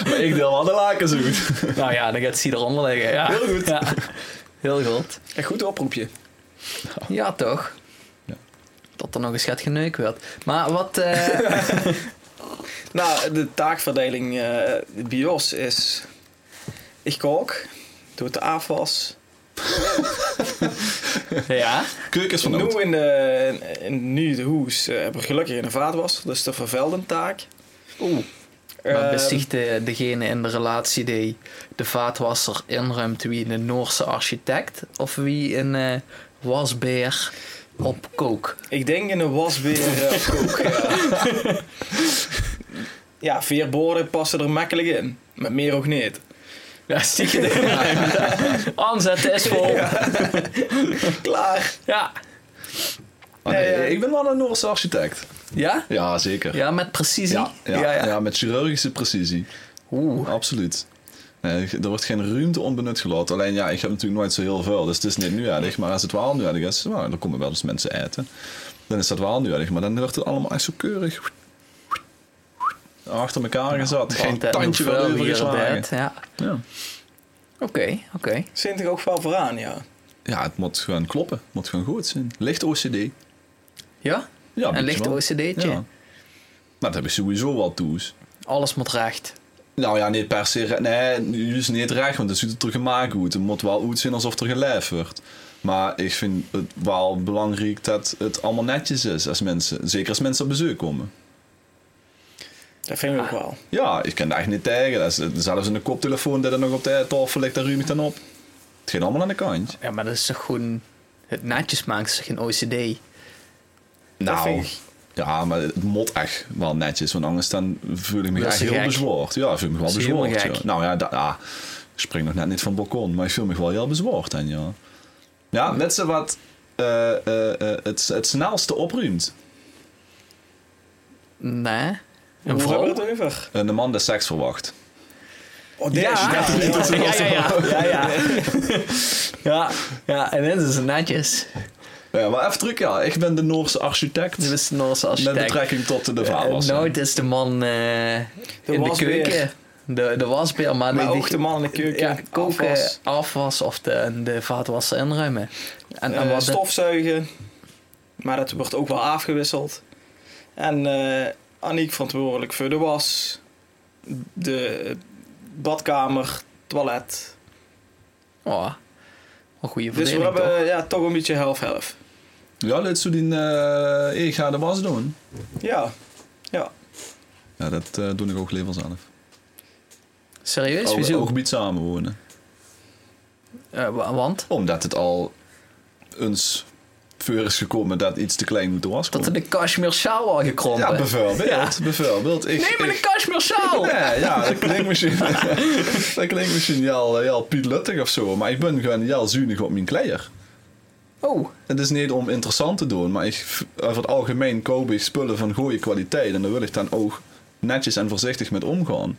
Maar ik deel wel de lakens uit. nou ja, dan gaat ze eronder liggen. Ja. Heel goed. Ja. Heel goed. Een goed oproepje. Ja, toch? Ja. Dat er nog eens gaat geneukt werd. Maar wat... eh, Nou, de taakverdeling eh, de BIOS is... Ik kook, doe de afwas. ja? Keukens van Nu oud. in de, in, in- nu de hoes eh, hebben we gelukkig een vaatwasser, dus de vervelde taak. Oeh. Ehm, Maar besticht de, degene in de relatie die de vaatwasser inruimt wie een Noorse architect? Of wie een eh, wasbeer op kook? Ik denk in een wasbeer eh, op kook. ja. ja, veerboorden passen er makkelijk in. Maar meer ook niet. Ja, stiekem de Aanzetten is vol. Ja. Klaar. Ja? Ah, nee, Nee, ja. Ik ben wel een Noorse architect. Ja, Ja, zeker. met precisie? ja, ja, ja, met chirurgische precisie. Oeh. Absoluut. Nee, er wordt geen ruimte onbenut gelaten. Alleen ja, ik heb natuurlijk nooit zo heel veel. Dus het is niet nuaardig. Maar als het wel nuaardig is, nou, dan komen wel eens mensen eten. Dan is dat wel nuaardig. Maar dan wordt het allemaal echt zo keurig. Achter elkaar gezet. Geen Want, eh, tandje wel hoeveel hier overgeslagen. bed, Ja. Ja. Oké, oké. Zint er ook wel vooraan, ja. ja, het moet gewoon kloppen. Het moet gewoon goed zijn. Licht OCD. Ja? Ja, een licht OCD'tje. Ja. Maar dat heb ik sowieso wel toes. Alles moet recht. Nou ja, niet per se. re- Nee, juist niet recht, want het ziet er gemaakt uit. Het moet wel uit zijn alsof er gelijf wordt. Maar ik vind het wel belangrijk dat het allemaal netjes is als mensen. Zeker als mensen op bezoek komen. Dat vind ik Ah, ook wel. Ja, ik kan daar echt niet tegen. Dat is- Zelfs een koptelefoon die er nog op de tafel ligt, daar ruim ik dan op. Het gaat allemaal aan de kant. Ja, maar dat is toch gewoon... Het netjes maken is toch geen OCD? Nou, vind ik- ja, maar het moet echt wel netjes. Want anders dan voel ik me Dat is echt heel gek. bezwaard. Ja, ik voel me wel Dat is helemaal bezwaard. gek. ja. Nou ja, da- ja, ik spring nog net niet van het balkon. Maar ik voel me wel heel bezwaard dan, ja. Ja, net zo wat eh, eh, eh, het, het snelste opruimt. Nee. Hoe Een hebben we vrouw? het over? Een man die seks verwacht. Oh, Ja, deze. ja, Ja, ja. ja, ja, ja, ja, ja. Ja, ja, en dit is netjes. Ja, maar even terug, ja. Ik ben de Noorse architect. Dit is Noorse met architect. betrekking tot de Eh, vader. Nooit is de man eh, in de wasbeer. keuken. De, de wasbeer, maar, Maar die- ook de man in de keuken. ja, koken, afwas, afwas, of de, de vaatwasser inruimen. En, en eh, wat de- stofzuigen. Maar dat wordt ook wel afgewisseld. En eh Aniek verantwoordelijk voor de was. De badkamer, toilet. Oh, een goede Dus we verdeling hebben toch? ja, toch een beetje half-half. Ja, dat is toen die... eh, ik ga de was doen. Ja. Ja. Ja, dat eh, doe ik ook liever zelf. Serieus, Oh, Ook wieso? gebied samenwonen. Eh, wa- want? Omdat het al eens voor is gekomen dat iets te klein moet was. Dat er de cashmere sjaal al gekrompen. ja, bijvoorbeeld. bijvoorbeeld. Ik, Neem maar de ik- cashmere sjaal! Nee, ja, dat klinkt misschien, eh, dat klinkt misschien heel, heel Piet Luttig of zo, maar ik ben gewoon heel zuinig op mijn kleier. Oh, Het is niet om interessant te doen, maar ik, v- over het algemeen koop ik spullen van goede kwaliteit. En daar wil ik dan ook netjes en voorzichtig mee omgaan.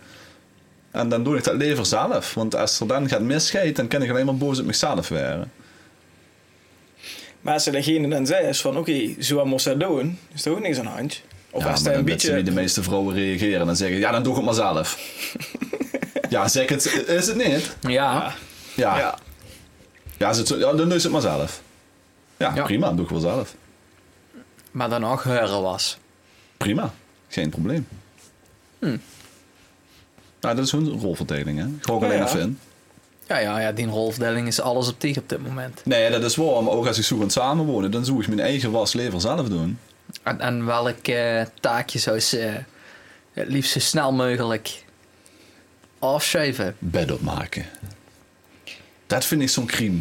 En dan doe ik dat lever zelf. Want als er dan gaat misgeet, dan kan ik alleen maar boos op mezelf werden. Maar als ze degene dan zei is van, oké, zo moest dat doen, is er ook niks aan de hand. Of ja, als maar hij een dan dat ze beetje... niet de meeste vrouwen reageren. Dan zeggen ja, dan doe ik het maar zelf. ja, zeg het, is het niet? ja. Ja, ja. Ja. is het zo, ja dan doe je het maar zelf. Ja, Ja. prima, doe ik wel zelf. Maar dan ook huren was. Prima, geen probleem. Hmm. Nou, dat is hun rolverdeling, hè? Gewoon alleen ja. even in. Ja, ja, ja, die rolverdeling is alles op tegen op dit moment. Nee, dat is waar, maar ook als ik zoek aan het samenwonen, dan zoek ik mijn eigen waslever zelf doen. En, en welk eh, taakje zou ze eh, het liefst zo snel mogelijk afschuiven? Bed opmaken. Dat vind ik zo'n crime.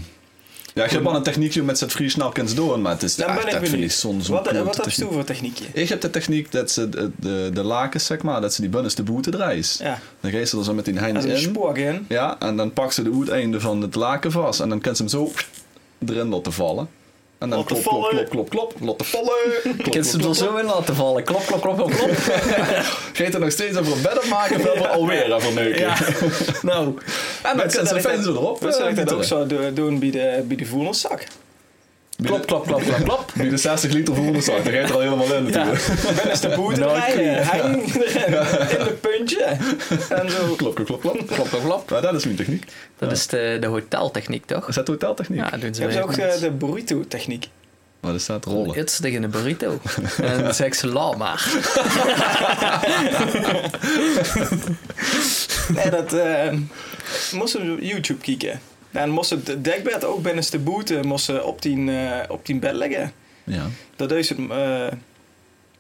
Ja, ik heb wel een techniekje met z'n vrije snelkens door, maar het is Dan echt, ben ik dat vind ik benieuwd. zo'n zo'n wat klote wat heb je techniek. toe voor techniekje? Ik heb de techniek dat ze de, de, de lakens, zeg maar, dat ze die bunnens de boete draait. Ja, Dan geeft ze er zo met die als heind een in. spoor in. Ja, en dan pakt ze de oeteinde van het laken vast. En dan kan ze hem zo erin laten vallen. En dan Laten klop, klop, vallen. klop, klop, klop, laten vallen. Klop, Kun je ze klop, er klop. zo in laten vallen? Klop, klop, klop, klop, klop. Geet er nog steeds over een bed op maken, wil er alweer even neuken. Ja. Nou, En dan Wat kan zou ze ik fijn dat- zo erop. Wat zou ik eh, dat ook bieten. zo do- doen bij de, bij de voedelzak? klop, klop, klop, klop, klop. Nu de 60 liter voederzak, dan gaat er al helemaal in natuurlijk. Ben eens de boete Nou, draaien, ik- eh, hang erin, in de puntje. En zo. Klop, klop, klop, klop. Klop, klop, klop. Maar dat is mijn techniek. Dat Ja. is de, de hoteltechniek, toch? Is dat hoteltechniek? Ja, dat doen Je ze hebt weer ook met- eh, de burrito techniek. Maar er staat rollen. Iets tegen de burrito. En dan zeg ik ze, la maar. Nee, dat eh moest ze op YouTube kijken. En moest het dekbed ook binnen de boete moest ze op die, eh, op die bed leggen. Ja. Dat is het eh,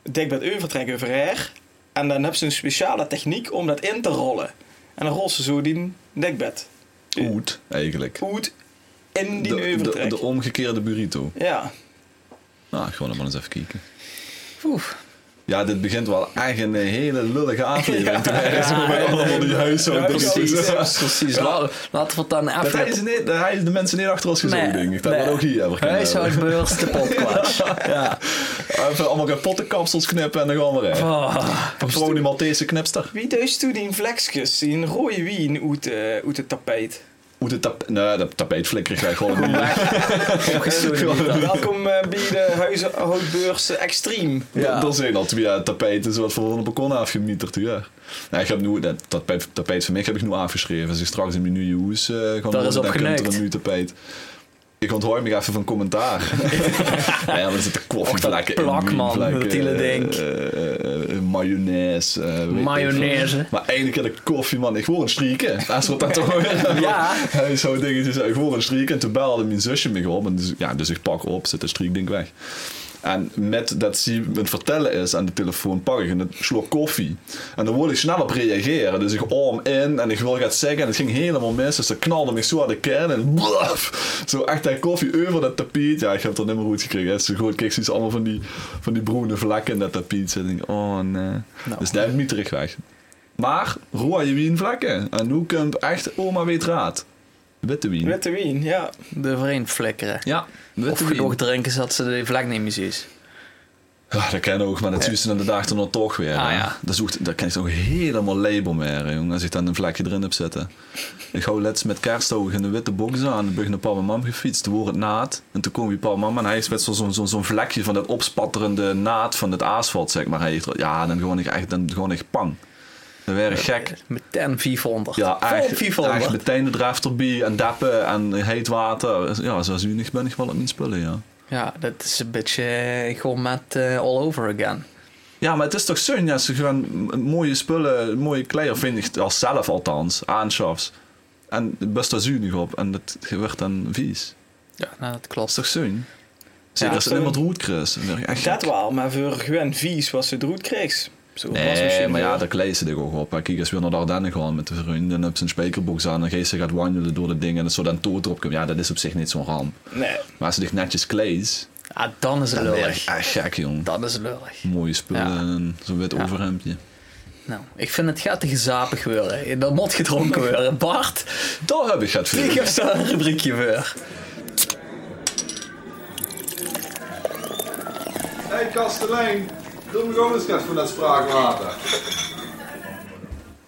het dekbed overtrekken over haar. En dan hebben ze een speciale techniek om dat in te rollen. En dan rolt ze zo die dekbed. Oet, eigenlijk. Goed in die De, de, overtrek. de omgekeerde burrito. Ja. Nou, gewoon maar eens even kijken. Oeh. Ja, dit begint wel echt een hele lullige aflevering. Toen hij is gewoon met allemaal die huis zo. Ja, precies. Precies, la- laten we het dan Dat hij, is even... niet, dat hij is de mensen niet achter ons gezogen, denk ik. Dat wordt ook hier hebben kunnen hebben. Huishoudbeurs, de podcast. ja. Even allemaal kapotte kapsels knippen en dan gaan we rijden. Oh. Gewoon die Maltese knipster. Wie deus toen die vlekjes, die rode wien uit, eh, uit het tapijt. Hoe de tap nee, dat tapijt flikker krijg gewoon een Welkom eh, bij de huishoudbeurs eh, Extreme. Ja. Er zijn al twee eh, tapijten zo wat voor een balkon afgemieterd. Ja. Nou, ik heb nu, dat tapijt, tapijt van mij heb ik nu afgeschreven. Als ik straks in mijn nieuwe huis eh ga wonen, is dan opgeneukt. komt er een nieuw tapijt. Ik onthoor me even van commentaar. ja, dan zit er koffievlekken in. plak, man, wienvlekken, dat hele ding. eh, eh, eh, mayonaise. eh, weet ik Mayonaise. veel. Maar eindelijk had ik koffie, man. Ik hoor een strieken. Als we dat te horen. Ja. Hij zo dingetjes. Ik hoor een strieken. En toen belde mijn zusje me op. En dus, ja, dus ik pak op, zet de striekding weg. En met dat ze me het vertellen is aan de telefoon, pak ik een slok koffie. En dan wil ik snel op reageren. Dus ik om in en ik wil gaan zeggen. En het ging helemaal mis. Dus dat knalde me zo aan de kern. En blaf, zo echt dat koffie over dat tapiet. Ja, ik heb het er niet meer goed gekregen. Het is zo goed. Kijk, ze is allemaal van die, van die bruine vlekken in dat tapiet. zitten. ik denk, oh nee. Dus daar heb ik niet terug weg. Maar rode wien vlekken. En nu komt echt oma weet raad. Witte wien. Witte wien, ja. De vreemd flikkeren. Ja, witte Of genoeg drinken zodat ze de vlek niet meer zien. Ja, dat kan ook, maar dat zuurste aan de dag dan toch weer. Ah, hè. ja. Dat, zoekt, dat kan ik toch helemaal label meer, jongen, als ik dan een vlekje erin heb zitten. Ik hou let's met kerstdagen in de witte box aan, ben ik naar papa en mam gefietst, toen wordt het naad. En toen kwam je papa en mama en hij is met zo'n zo, zo, zo'n vlekje van dat opspatterende naad van het asfalt, zeg maar. Hij heeft er- ja, dan gewoon ik echt, dan gewoon echt pang. Dan werd ik gek. Meteen 400. Ja, Vol echt, 400. echt meteen de draft erbij en deppen en heet water. Ja, zoals u niet ben ik wel op mijn spullen, ja. Ja, dat is een beetje eh, gewoon met eh, all over again. Ja, maar het is toch zin als ze gewoon m- mooie spullen, mooie kleren, vind ik als zelf althans, aanschafs. En het best daar zuur niet op en dat wordt dan vies. Ja, nou, dat Dat is klopt. toch zin? Zeker Ja, als het zo'n- helemaal roet kruis. Dan word ik echt Dat gek. wel, maar voor Gwen vies was ze droed kreeg. Zo was Nee, maar ja, daar kleed ze zich ook op. hè. Kijk, als we naar de Ardennen gaan met de vrienden, dan heb ze een spijkerbox aan en geest ze gaat wandelen door de dingen en zo dan toot erop komt. Ja, dat is op zich niet zo'n ramp. Nee, Maar als ze zich netjes kleedt, Ah, dan is het dan ben ik lullig. echt gek, Ah, jong. Dat is lullig. Mooie spullen Ja. en zo'n wit overhemdje. Nou, ik vind het gaat te gezapig worden. Dat moet gedronken worden. Bart, Daar heb ik het ik veel. heb zo'n rubriekje voor. hey kastelein, doe me gewoon eens voor dat spraakwater.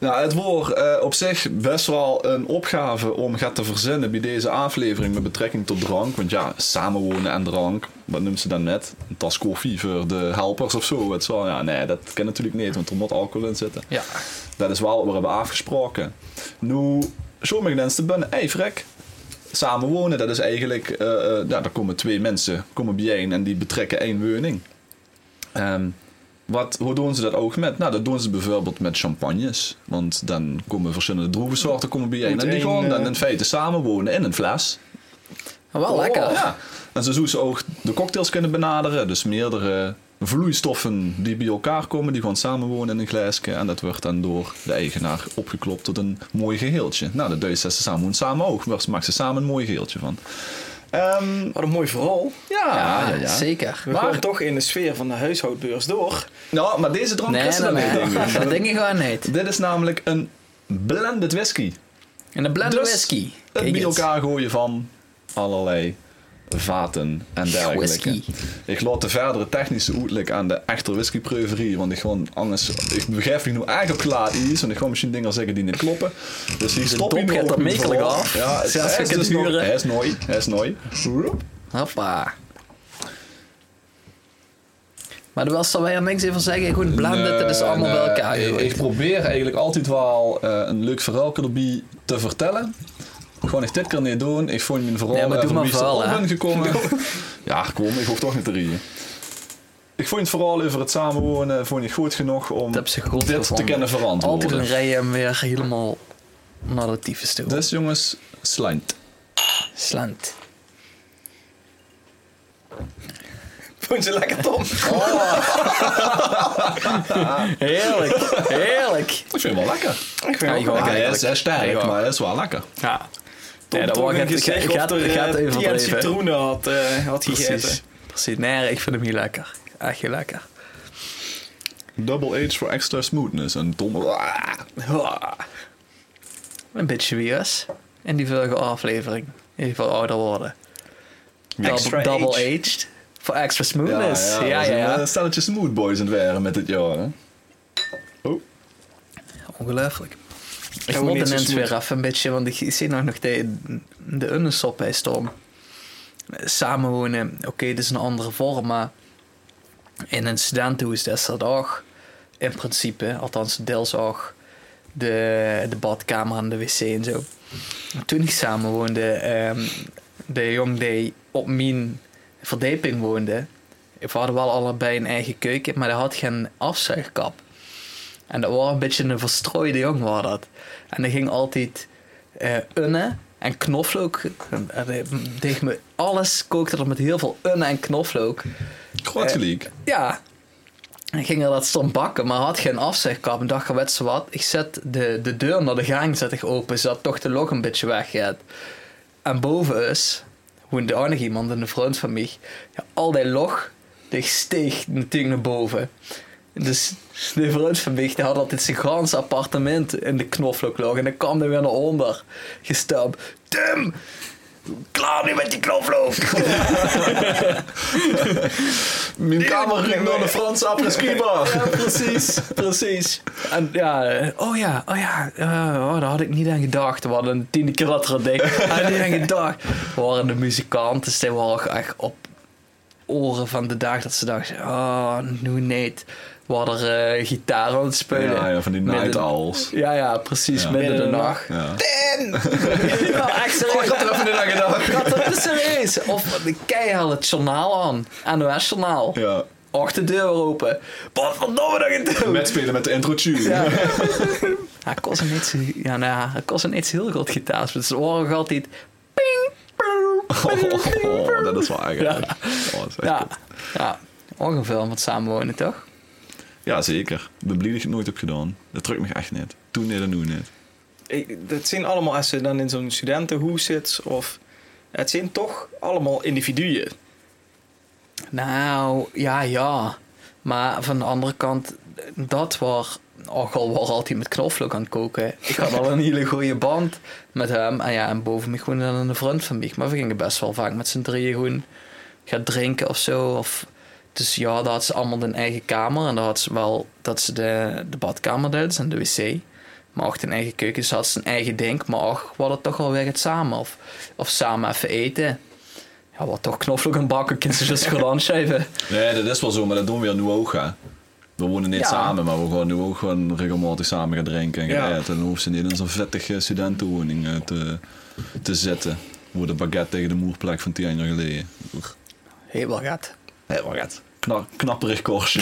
Nou, het wordt eh, op zich best wel een opgave om gaat te verzinnen bij deze aflevering met betrekking tot drank. Want ja, samenwonen en drank, wat noemt ze dan net? Een tas koffie voor de helpers of zo. Het is wel, ja, nee, dat kan natuurlijk niet, want er moet alcohol in zitten. Ja. Dat is wel wat we hebben afgesproken. Nu, sommige mensen binnen, hey frek, samenwonen, dat is eigenlijk, eh eh, ja, daar komen twee mensen komen bijeen en die betrekken één woning. Ehm, wat, hoe doen ze dat ook met? Nou, dat doen ze bijvoorbeeld met champagnes. Want dan komen verschillende droevensoorten komen bijeen. Moet En die één, gaan dan eh, in feite samenwonen in een fles. Wel lekker. Oh, Ja. En zo zoeken ze ook de cocktails kunnen benaderen. Dus meerdere vloeistoffen die bij elkaar komen, die gaan samenwonen in een glaasje. En dat wordt dan door de eigenaar opgeklopt tot een mooi geheeltje. Nou, dat duizend ze samen samen ook. Daar maken ze samen een mooi geheeltje van. Ehm, Wat een mooi verhaal. ja, ja, ja, Zeker. We gaan toch in de sfeer van de huishoudbeurs door. Nou, maar deze drank Nee, is er nee, dan nee. niet, denk ik. dat denk ik gewoon niet. Dit is namelijk een blended whisky. En een blended Dus, whisky. Het Kijk bij eens. elkaar gooien van allerlei vaten en dergelijke. Whisky. Ik laat de verdere technische uitleg aan de echte whiskypreuverie, want ik gewoon anders... Ik begrijp niet hoe eigenlijk klaar is, want ik gewoon misschien dingen zeggen die niet kloppen. Dus hier stop dop je nu gaat ook er met mekelijk verhaal. af. Ja, het, Zelfs hij ik is het dus nog- huren. Hij is nooit, hij is nooit. Roep. Hoppa. Maar er was er weer niks over zeggen. Goed, blended, het is Nee, allemaal bij nee. elkaar. Ik, eh, ik gegooid. probeer eigenlijk altijd wel eh, een leuk verhaal erbij te vertellen. Gewoon echt dit keer niet doen. Ik vond mijn verhaal Nee, maar doe eh, van maar wie is er verhaal, op hè? ben gekomen. ja, kom, ik hoef toch niet te rieën. Ik vond het verhaal over het samenwonen vond ik goed genoeg om Dat heb ze goed dit gevonden. te kunnen Altijd een verantwoorden. rij hem weer helemaal naar de tyfus toe. Dus jongens, slijnt. Slant. Vond je lekker, Tom? Heerlijk, heerlijk. Ik vind het wel lekker. Ik vind het Ja, ook Ja, lekker. hij is, hij is sterk, Ja. maar hij is wel lekker. Ja. Tom Ja, dat toch wordt- een gaat- gezicht gaat- of er, gaat eh, even die aan blijven. citroenen had, eh, had gegeten. Precies. Precies. Nee, ik vind hem niet lekker. Echt heel lekker. Double H voor extra smoothness. En Tom... Ah. Een beetje wiers. In die vorige aflevering. Even ouder worden. Extra Double, double age. aged. Voor extra smoothness. Ja, ja, ja. Een eh, stelletje smooth boys in het waren met dit jaar, hè? Oh. Ongelooflijk. Ik hoe moet niet de zo mens smooth. weer af een beetje, want ik zie nog nog de, de unnensop bij Storm. Samenwonen, oké, dit is een andere vorm, maar in een studentenhuis is dat ook in principe, althans deels ook, de, de badkamer en de wc en zo. Toen ik samenwoonde, ehm de jong die op mijn verdieping woonde, we hadden wel allebei een eigen keuken, maar dat had geen afzuigkap. En dat was een beetje een verstrooide jong, was dat. En die ging altijd eh unne en knoflook. En, en die- tegen me, alles kookte er met heel veel unne en knoflook. Groot gelijk. Ja. En ging er dat stond bakken, maar had geen afzegkap. En dacht, weet ze wat, ik zet de, de deur naar de gang zet ik open, zodat toch de log een beetje weggaat. En boven is, woonde ook nog iemand in de front van mij, ja, al die log, die steeg natuurlijk naar boven. Dus de vriend van mij die had altijd zijn ganse appartement in de knoflook liggen. En dan kwam hij weer naar onder, gestapt. Tim, klaar nu met die knoflook! Mijn kamer ging door de Franse apres-ski-bar. Ja, precies, precies. En ja, eh, oh ja, oh ja, eh, oh, daar had ik niet aan gedacht. We hadden een tiende keer dat er ding. Had ik niet aan gedacht. We waren de muzikanten, dus die waren echt op oren van de dag dat ze dachten, oh, nu niet. We hadden eh, gitaar aan het spelen. Ja, ja, van die Midden- night owls. Ja, ja, precies, Ja. midden in de Midden in de nacht. Ja. Ja, echt serieus. er even in aan gedacht. Dat dat is serieus. Of de kei haal het journaal aan. NOS-journaal. Ja. Och, de deur weer open. Wat verdomme nog een deur. Met spelen met de intro tune. Ja. Hij kost een iets, ja, nou, ja, hij kost een iets heel groot gitaar. Dus de oren gaan altijd. Ping, ping, Oh, ping, oh, ping, oh, ping. dat is wel eigenlijk. Oh, dat is echt Ja, kut. ja. ongeveer met samenwonen toch? ja, zeker. Ik ben blij dat je het nooit hebt gedaan. Dat drukt me echt niet. Toen niet en nu niet. Ik- dat zijn allemaal, als ze dan in zo'n studentenhoes zit, of... Het zijn toch allemaal individuen. Nou, ja, ja. Maar van de andere kant, dat waar. Och, al was altijd met knoflook aan het koken. Ik had al een hele goede band met hem. En ja, en boven mij gewoon dan een vriend van mij. Maar we gingen best wel vaak met z'n drieën gewoon gaan drinken of zo. Of Dus ja, daar had ze allemaal een eigen kamer. En daar had ze wel dat ze de, de badkamer deed en de wc. Maar ook een eigen keuken. Ze had zijn eigen ding. Maar ook, we hadden toch wel weer het samen. Of, of samen even eten. Ja, wat toch knoflook en bakken. Kunnen ze dus gewoon schrijven. Nee, dat is wel zo, maar dat doen we in Nuoga. We wonen niet Ja. samen, maar we gaan nu ook gewoon regelmatig samen gaan drinken en gaan Ja. eten. Dan hoeven ze niet in zo'n vettige studentenwoning eh, te, te zetten. Hoe de baguette tegen de moerplek van tien jaar geleden. Heel wel gaat. Nee, baguette. Kna knapperig korstje.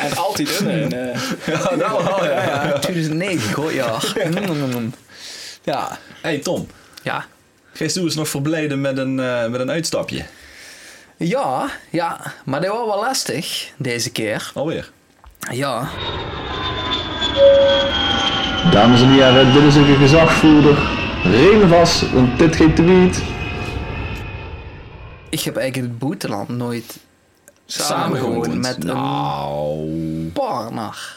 En altijd dunne. En, eh, Ja, nou wel, ja. ja. 2009, goed ja. Mm, Ja. hey Tom, Ja. gisteren is nog verblijden met een, eh, met een uitstapje. Ja, ja. Maar dat was wel lastig deze keer. Alweer. Ja. Dames en heren, dit is een gezagvoerder. Reden vast, want dit geeft de wiet. Ik heb eigenlijk in het buitenland nooit Samengewoond. samengewoond met een Nou. partner.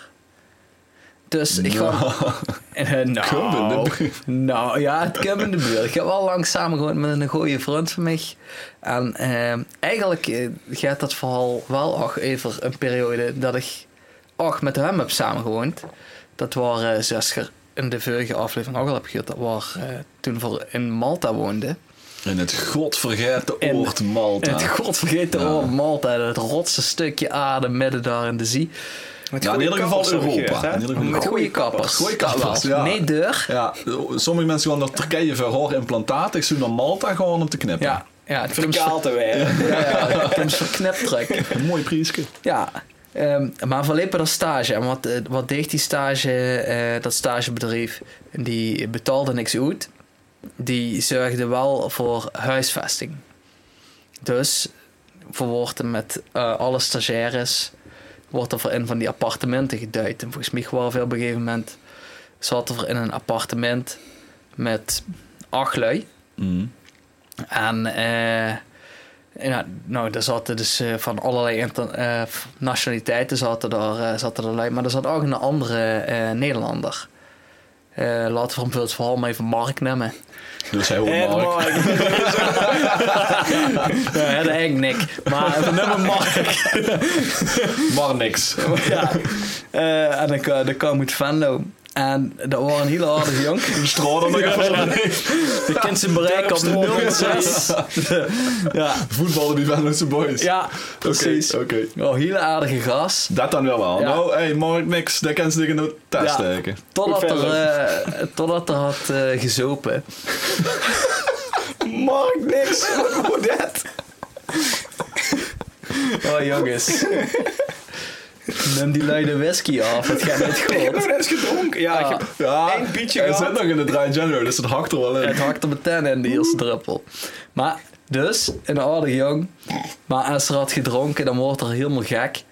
Dus ik ga... Eh, Kom in de nou, buurt. nou, ja, het kwam in de buurt. Ik heb al lang samengewoond met een goede vriend van mij. En eh, eigenlijk eh, gaat dat verhaal wel nog even een periode dat ik ook met hem heb samengewoond. Dat waren eh, zes keer in de vorige aflevering ook al heb gehoord. Dat was eh, toen we in Malta woonden. In het godvergeten In- oord Malta. En het godvergeten Ja. oh, Malta, dat rotse stukje aarde midden daar in de zee. met Ja, in goede ieder geval kappers heb ik Europa. gehoord, hè? In ieder geval- Met goede kappers. Goeie kappers, ja. Nee deur. Ja, sommige mensen gaan naar Turkije voor implantaten. Ik zoek naar Malta gewoon om te knippen. Ja, ja, het komt Verkaald te werken. Ja, ja, het komt verkneptrek. Een mooi priesje. Ja, ehm, maar we liepen dat stage. En wat, eh, wat deed die stage, eh, dat stagebedrijf? Die betaalde niks uit. Die zorgde wel voor huisvesting. Dus verwoorden met eh, alle stagiaires wordt er voor in van die appartementen geduid. En volgens mij waren we op een gegeven moment zaten we in een appartement met acht lui. Mm. En eh, ja, nou, daar zaten dus eh, van allerlei inter- eh, f- nationaliteiten zaten daar, eh, zaten er lui. Maar er zat ook een andere eh, Nederlander. Eh, laten we hem voor het verhaal maar even Mark nemen. Dus hij hoort En Mark. Mark. Ja, dat eigenlijk Nick. Maar we nemen Mark. Maar niks. ja. Eh, en dan, kwa- dan kwam uit Venlo. En dat waren een hele aardige jonk. Straden nog even. De kind zijn bereik op 0,6. ja, Voetballen die Venlose boys. ja, Oké, precies. Oké. Oh, hele aardige gast. Dat dan wel wel. Ja. Nou, hey, Mark niks. Daar kan ze tegen de test steken. Totdat Goed er, verder. eh, totdat er had eh, gezopen. Mark niks. Hoe dat? Oh jongens. Neem die luide whisky af, het gaat niet Ik heb goed. Ah. nog eens gedronken. Ja, Ja. ik heb Ja, één bietje hij gehad. zit nog in de dry January, dus dat hakt er wel in. Eh, Het hakt er meteen in, die eerste druppel. Maar, dus, een aardige jong. Maar als er had gedronken, dan wordt er helemaal gek.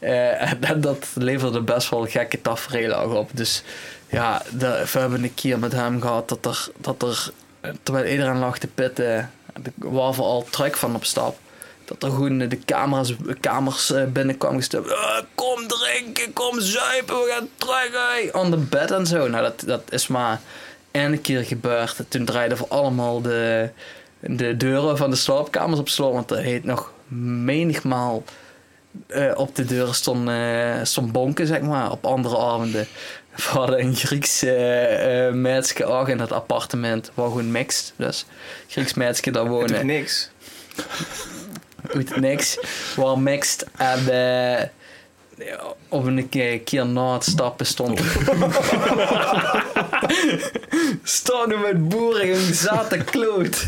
Eh, en dat- dat leverde best wel gekke tafereelen ook op. Dus ja, de, we hebben een keer met hem gehad dat er, dat er eh, terwijl iedereen lag te pitten, waar we al trek van op stap. Dat er gewoon eh, de camera's, kamers eh, binnenkwam gestuurd. kom drinken, kom zuipen, we gaan trekken. On the bed en zo. Nou, dat, dat is maar één keer gebeurd. Toen draaiden we allemaal de, de deuren van de slaapkamers op slot. Want er heet nog menigmaal eh, op de deuren stond, eh, stond bonken, zeg maar, op andere avonden. We hadden een Grieks eh eh, meisje ook in dat appartement, waar gewoon mixed, dus Grieks meisje daar Het doet wonen eh, niks. doet niks. Wel mixed. En eh, op een ke- keer na het stappen stond. Stonden met boeren en zaten kloot.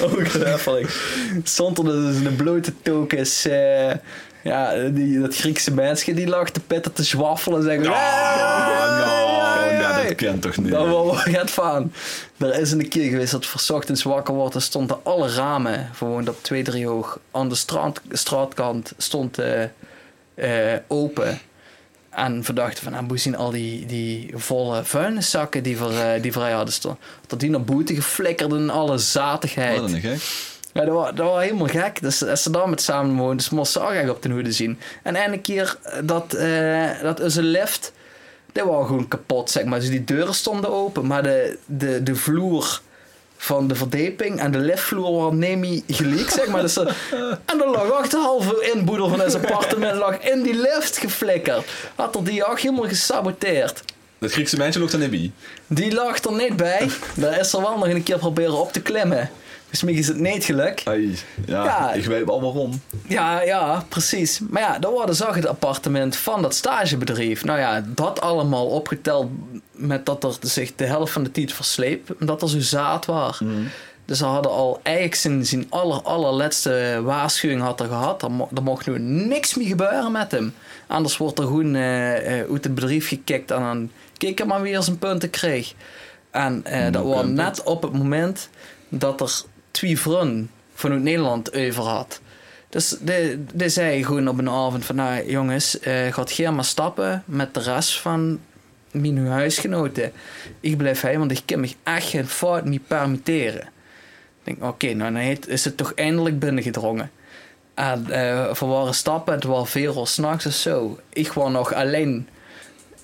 Ongelooflijk. Stond er dus in de blote tokens. eh, ja, die, dat Griekse meisje die lag te petten te zwaffelen. Zeggen, Oh, nou, "Hey, hey, nou, hey." dat kent toch niet. Dan wel gaat van. Er is een keer geweest dat we 's ochtends wakker wordt en stonden alle ramen gewoon op twee, drie hoog. Aan de straat, straatkant stond eh, eh, open. En we dachten van, nou, moet zien al die, die volle vuilniszakken die voor, eh, die voor hij hadden stonden. Dat die naar buiten geflikkerd en alle zatigheid. Wat een gek. Ja, dat was, dat was helemaal gek. Dus als ze daar met samen woonden, dus moest ze ook echt op de hoede zien. En ene keer dat, eh dat onze lift, die was gewoon kapot, zeg maar. Dus die deuren stonden open, maar de, de, de vloer van de verdeping en de liftvloer waar Nemi geleakt, zeg maar. Dus dat- en er lag echt de halve inboedel van zijn appartement lag in die lift geflikkerd. Had er die jacht helemaal gesaboteerd. Dat Griekse meisje loopt aan de bi. Die lag er niet bij. Daar is er wel nog een keer proberen op te klimmen. Dus mij is het niet gelukt. Ai, ja, Ja. ik weet wel waarom. Ja, ja, precies. Maar ja, dan worden zag het appartement van dat stagebedrijf. Nou ja, dat allemaal opgeteld met dat er zich de helft van de tijd versleep. Omdat er zo zaad was. Dus ze hadden al eigenlijk zijn, zijn aller, allerlaatste waarschuwing had er gehad. Er, mo- er mocht nu niks meer gebeuren met hem. Anders wordt er gewoon eh, eh, uit het bedrijf gekikt. En dan keek hij maar weer zijn punten kreeg. En eh, dat was net op het moment dat er twee vrouwen vanuit Nederland over had. Dus de, de zei gewoon op een avond van... Nou jongens, eh gaat Geer maar stappen met de rest van mijn huisgenoten. Ik blijf hij, want ik kan me echt geen fout meer permitteren. Ik denk, oké, nou dan heeft- is het toch eindelijk binnengedrongen. En eh we waren stappen, het was veel uur s'nachts of zo. Ik was nog alleen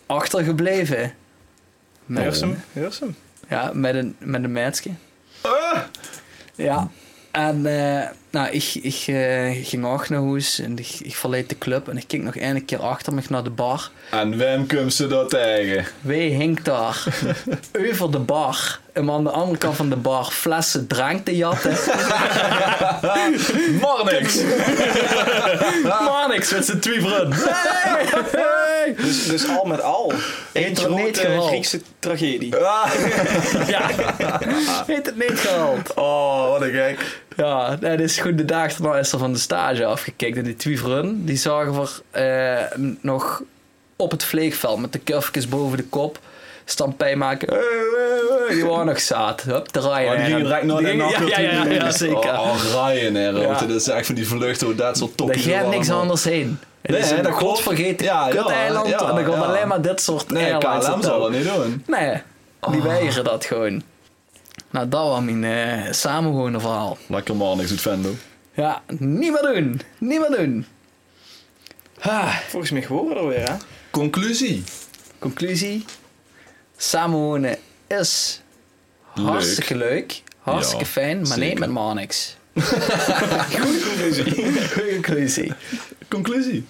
achtergebleven. Heers hem, heers hem. Ja, met een, met een meisje. Ja. En eh, nou, ik, ik eh, ging ook naar huis en ik, ik verleed de club en ik keek nog één keer achter me naar de bar. En wem komt ze dat tegen? Oh, Wij hing daar over de bar en aan de andere kant van de bar flessen drank te jatten. Maar niks! Maar niks met z'n twee vrienden. Hey! Hey! Dus, dus al met al. Eén Heet er niet grote geweld. Griekse tragedie. Ah, Ja. Heet het niet gehaald. Oh, wat een gek. Ja, nee, dus goed, de dag daarna is er van de stage afgekikt. En die twee vrienden, die zagen we eh, nog op het vleegveld met de kurfjes boven de kop. Stampij maken. Eh, eh, eh, Die waren nog zaad. Hup, de Ryanair. Maar Oh, die ging direct naar de Die gingen- nacht. ja, ja, ja, ja, zeker. Oh, Ryanair. Ja. want Dat is eigenlijk van die vluchten, hoe dat soort Daar topjes. gaat allemaal. niks anders heen. Het Nee, is een dat klopt. godvergeten Ja, ja, kut-eiland. ja, en dan gaan ja. alleen maar dit soort Nee, airlines KLM het zal doen. dat niet Ah. doen. Nee, die weigeren dat gewoon. Nou, dat was mijn eh samenwonen verhaal. Lekker man, niks doet Vendo. Ja, niet meer doen. Niet meer doen. Ha, Volgens mij geworden er weer, hè? Conclusie. conclusie. Samenwonen is Leuk. hartstikke leuk. Hartstikke Ja, fijn, maar nee zeker. met maar niks. Goede conclusie. Conclusie.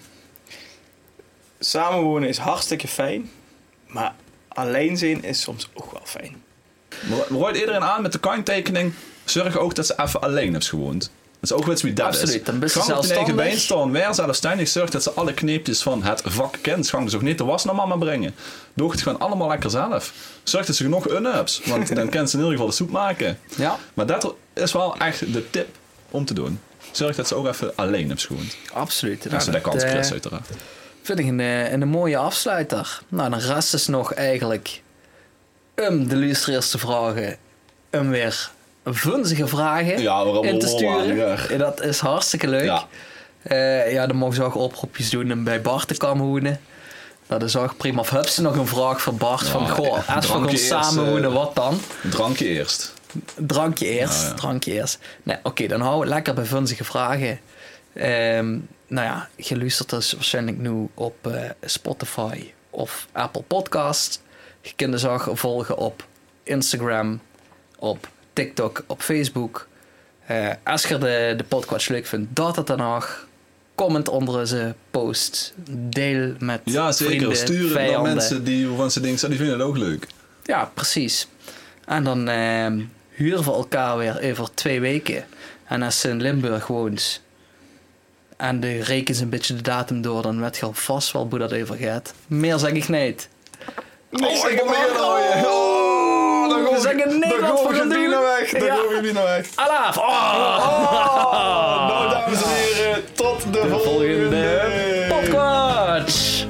Samenwonen is hartstikke fijn, maar alleen zijn is soms ook wel fijn. Roeit iedereen aan met de kanttekening. Zorg ook dat ze even alleen hebt gewoond. Dat is ook wat wie dat is. Absoluut, dan ben je Gang op je eigen zelfstandig. been staan, weer zelfstandig. Zorg dat ze alle kneepjes van het vak kent. Gang dus ook niet de was naar mama brengen. Doe het gewoon allemaal lekker zelf. Zorg dat ze genoeg unhups. Want dan kan ze in ieder geval de soep maken. Ja, Maar dat is wel echt de tip om te doen. Zorg dat ze ook even alleen hebt gewoond. absoluut. Als ze Nou, dat kans eh, krijgt, uiteraard. Vind ik een, eh, een mooie afsluiter. Nou, dan rest is nog eigenlijk om de luisteraars te vragen om weer vunzige vragen Ja, we in te rollen wel aan, sturen. ja. En dat is hartstikke leuk. Ja. Ja, ja dan mogen ze ook oproepjes doen om bij Bart te komen wonen. Nou, dat is ook prima. Of heb ze nog een vraag voor Bart? van, Ja, goh, eh, als we gaan drankje eerst, samen wonen, eh, wat dan? Drankje eerst. Drankje eerst, drankje eerst. Nee, oké, dan houden we het lekker bij vunzige vragen. Ehm, nou ja, je luistert dus waarschijnlijk nu op eh, Spotify of Apple Podcast. Je kunt dus ook volgen op Instagram, op TikTok, op Facebook. Eh, als je de, de podcast leuk vindt, dat het dan nog. Comment onder onze post. Deel met Ja, vrienden, zeker. Stuur het naar vijanden. mensen die waarvan ze denken, "Zo, die vinden het ook leuk. Ja, precies. En dan ehm, huren we elkaar weer over twee weken. En als ze in Limburg woont en de reken ze een beetje de datum door, dan weet je al vast wel hoe dat over gaat. Meer zeg ik niet. Oh, ik ben hier al, ja. Oh, dan We zeggen nee, dan wat goof we ik gaan de doen. bienen weg. Dan Ja. goof ik de bienen weg. Alaaf! Oh. Oh, Nou, dames en heren, tot de, volgende Podcast!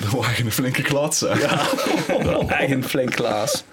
Dat waren een flinke klats, zeg. Eigen flink Klaas.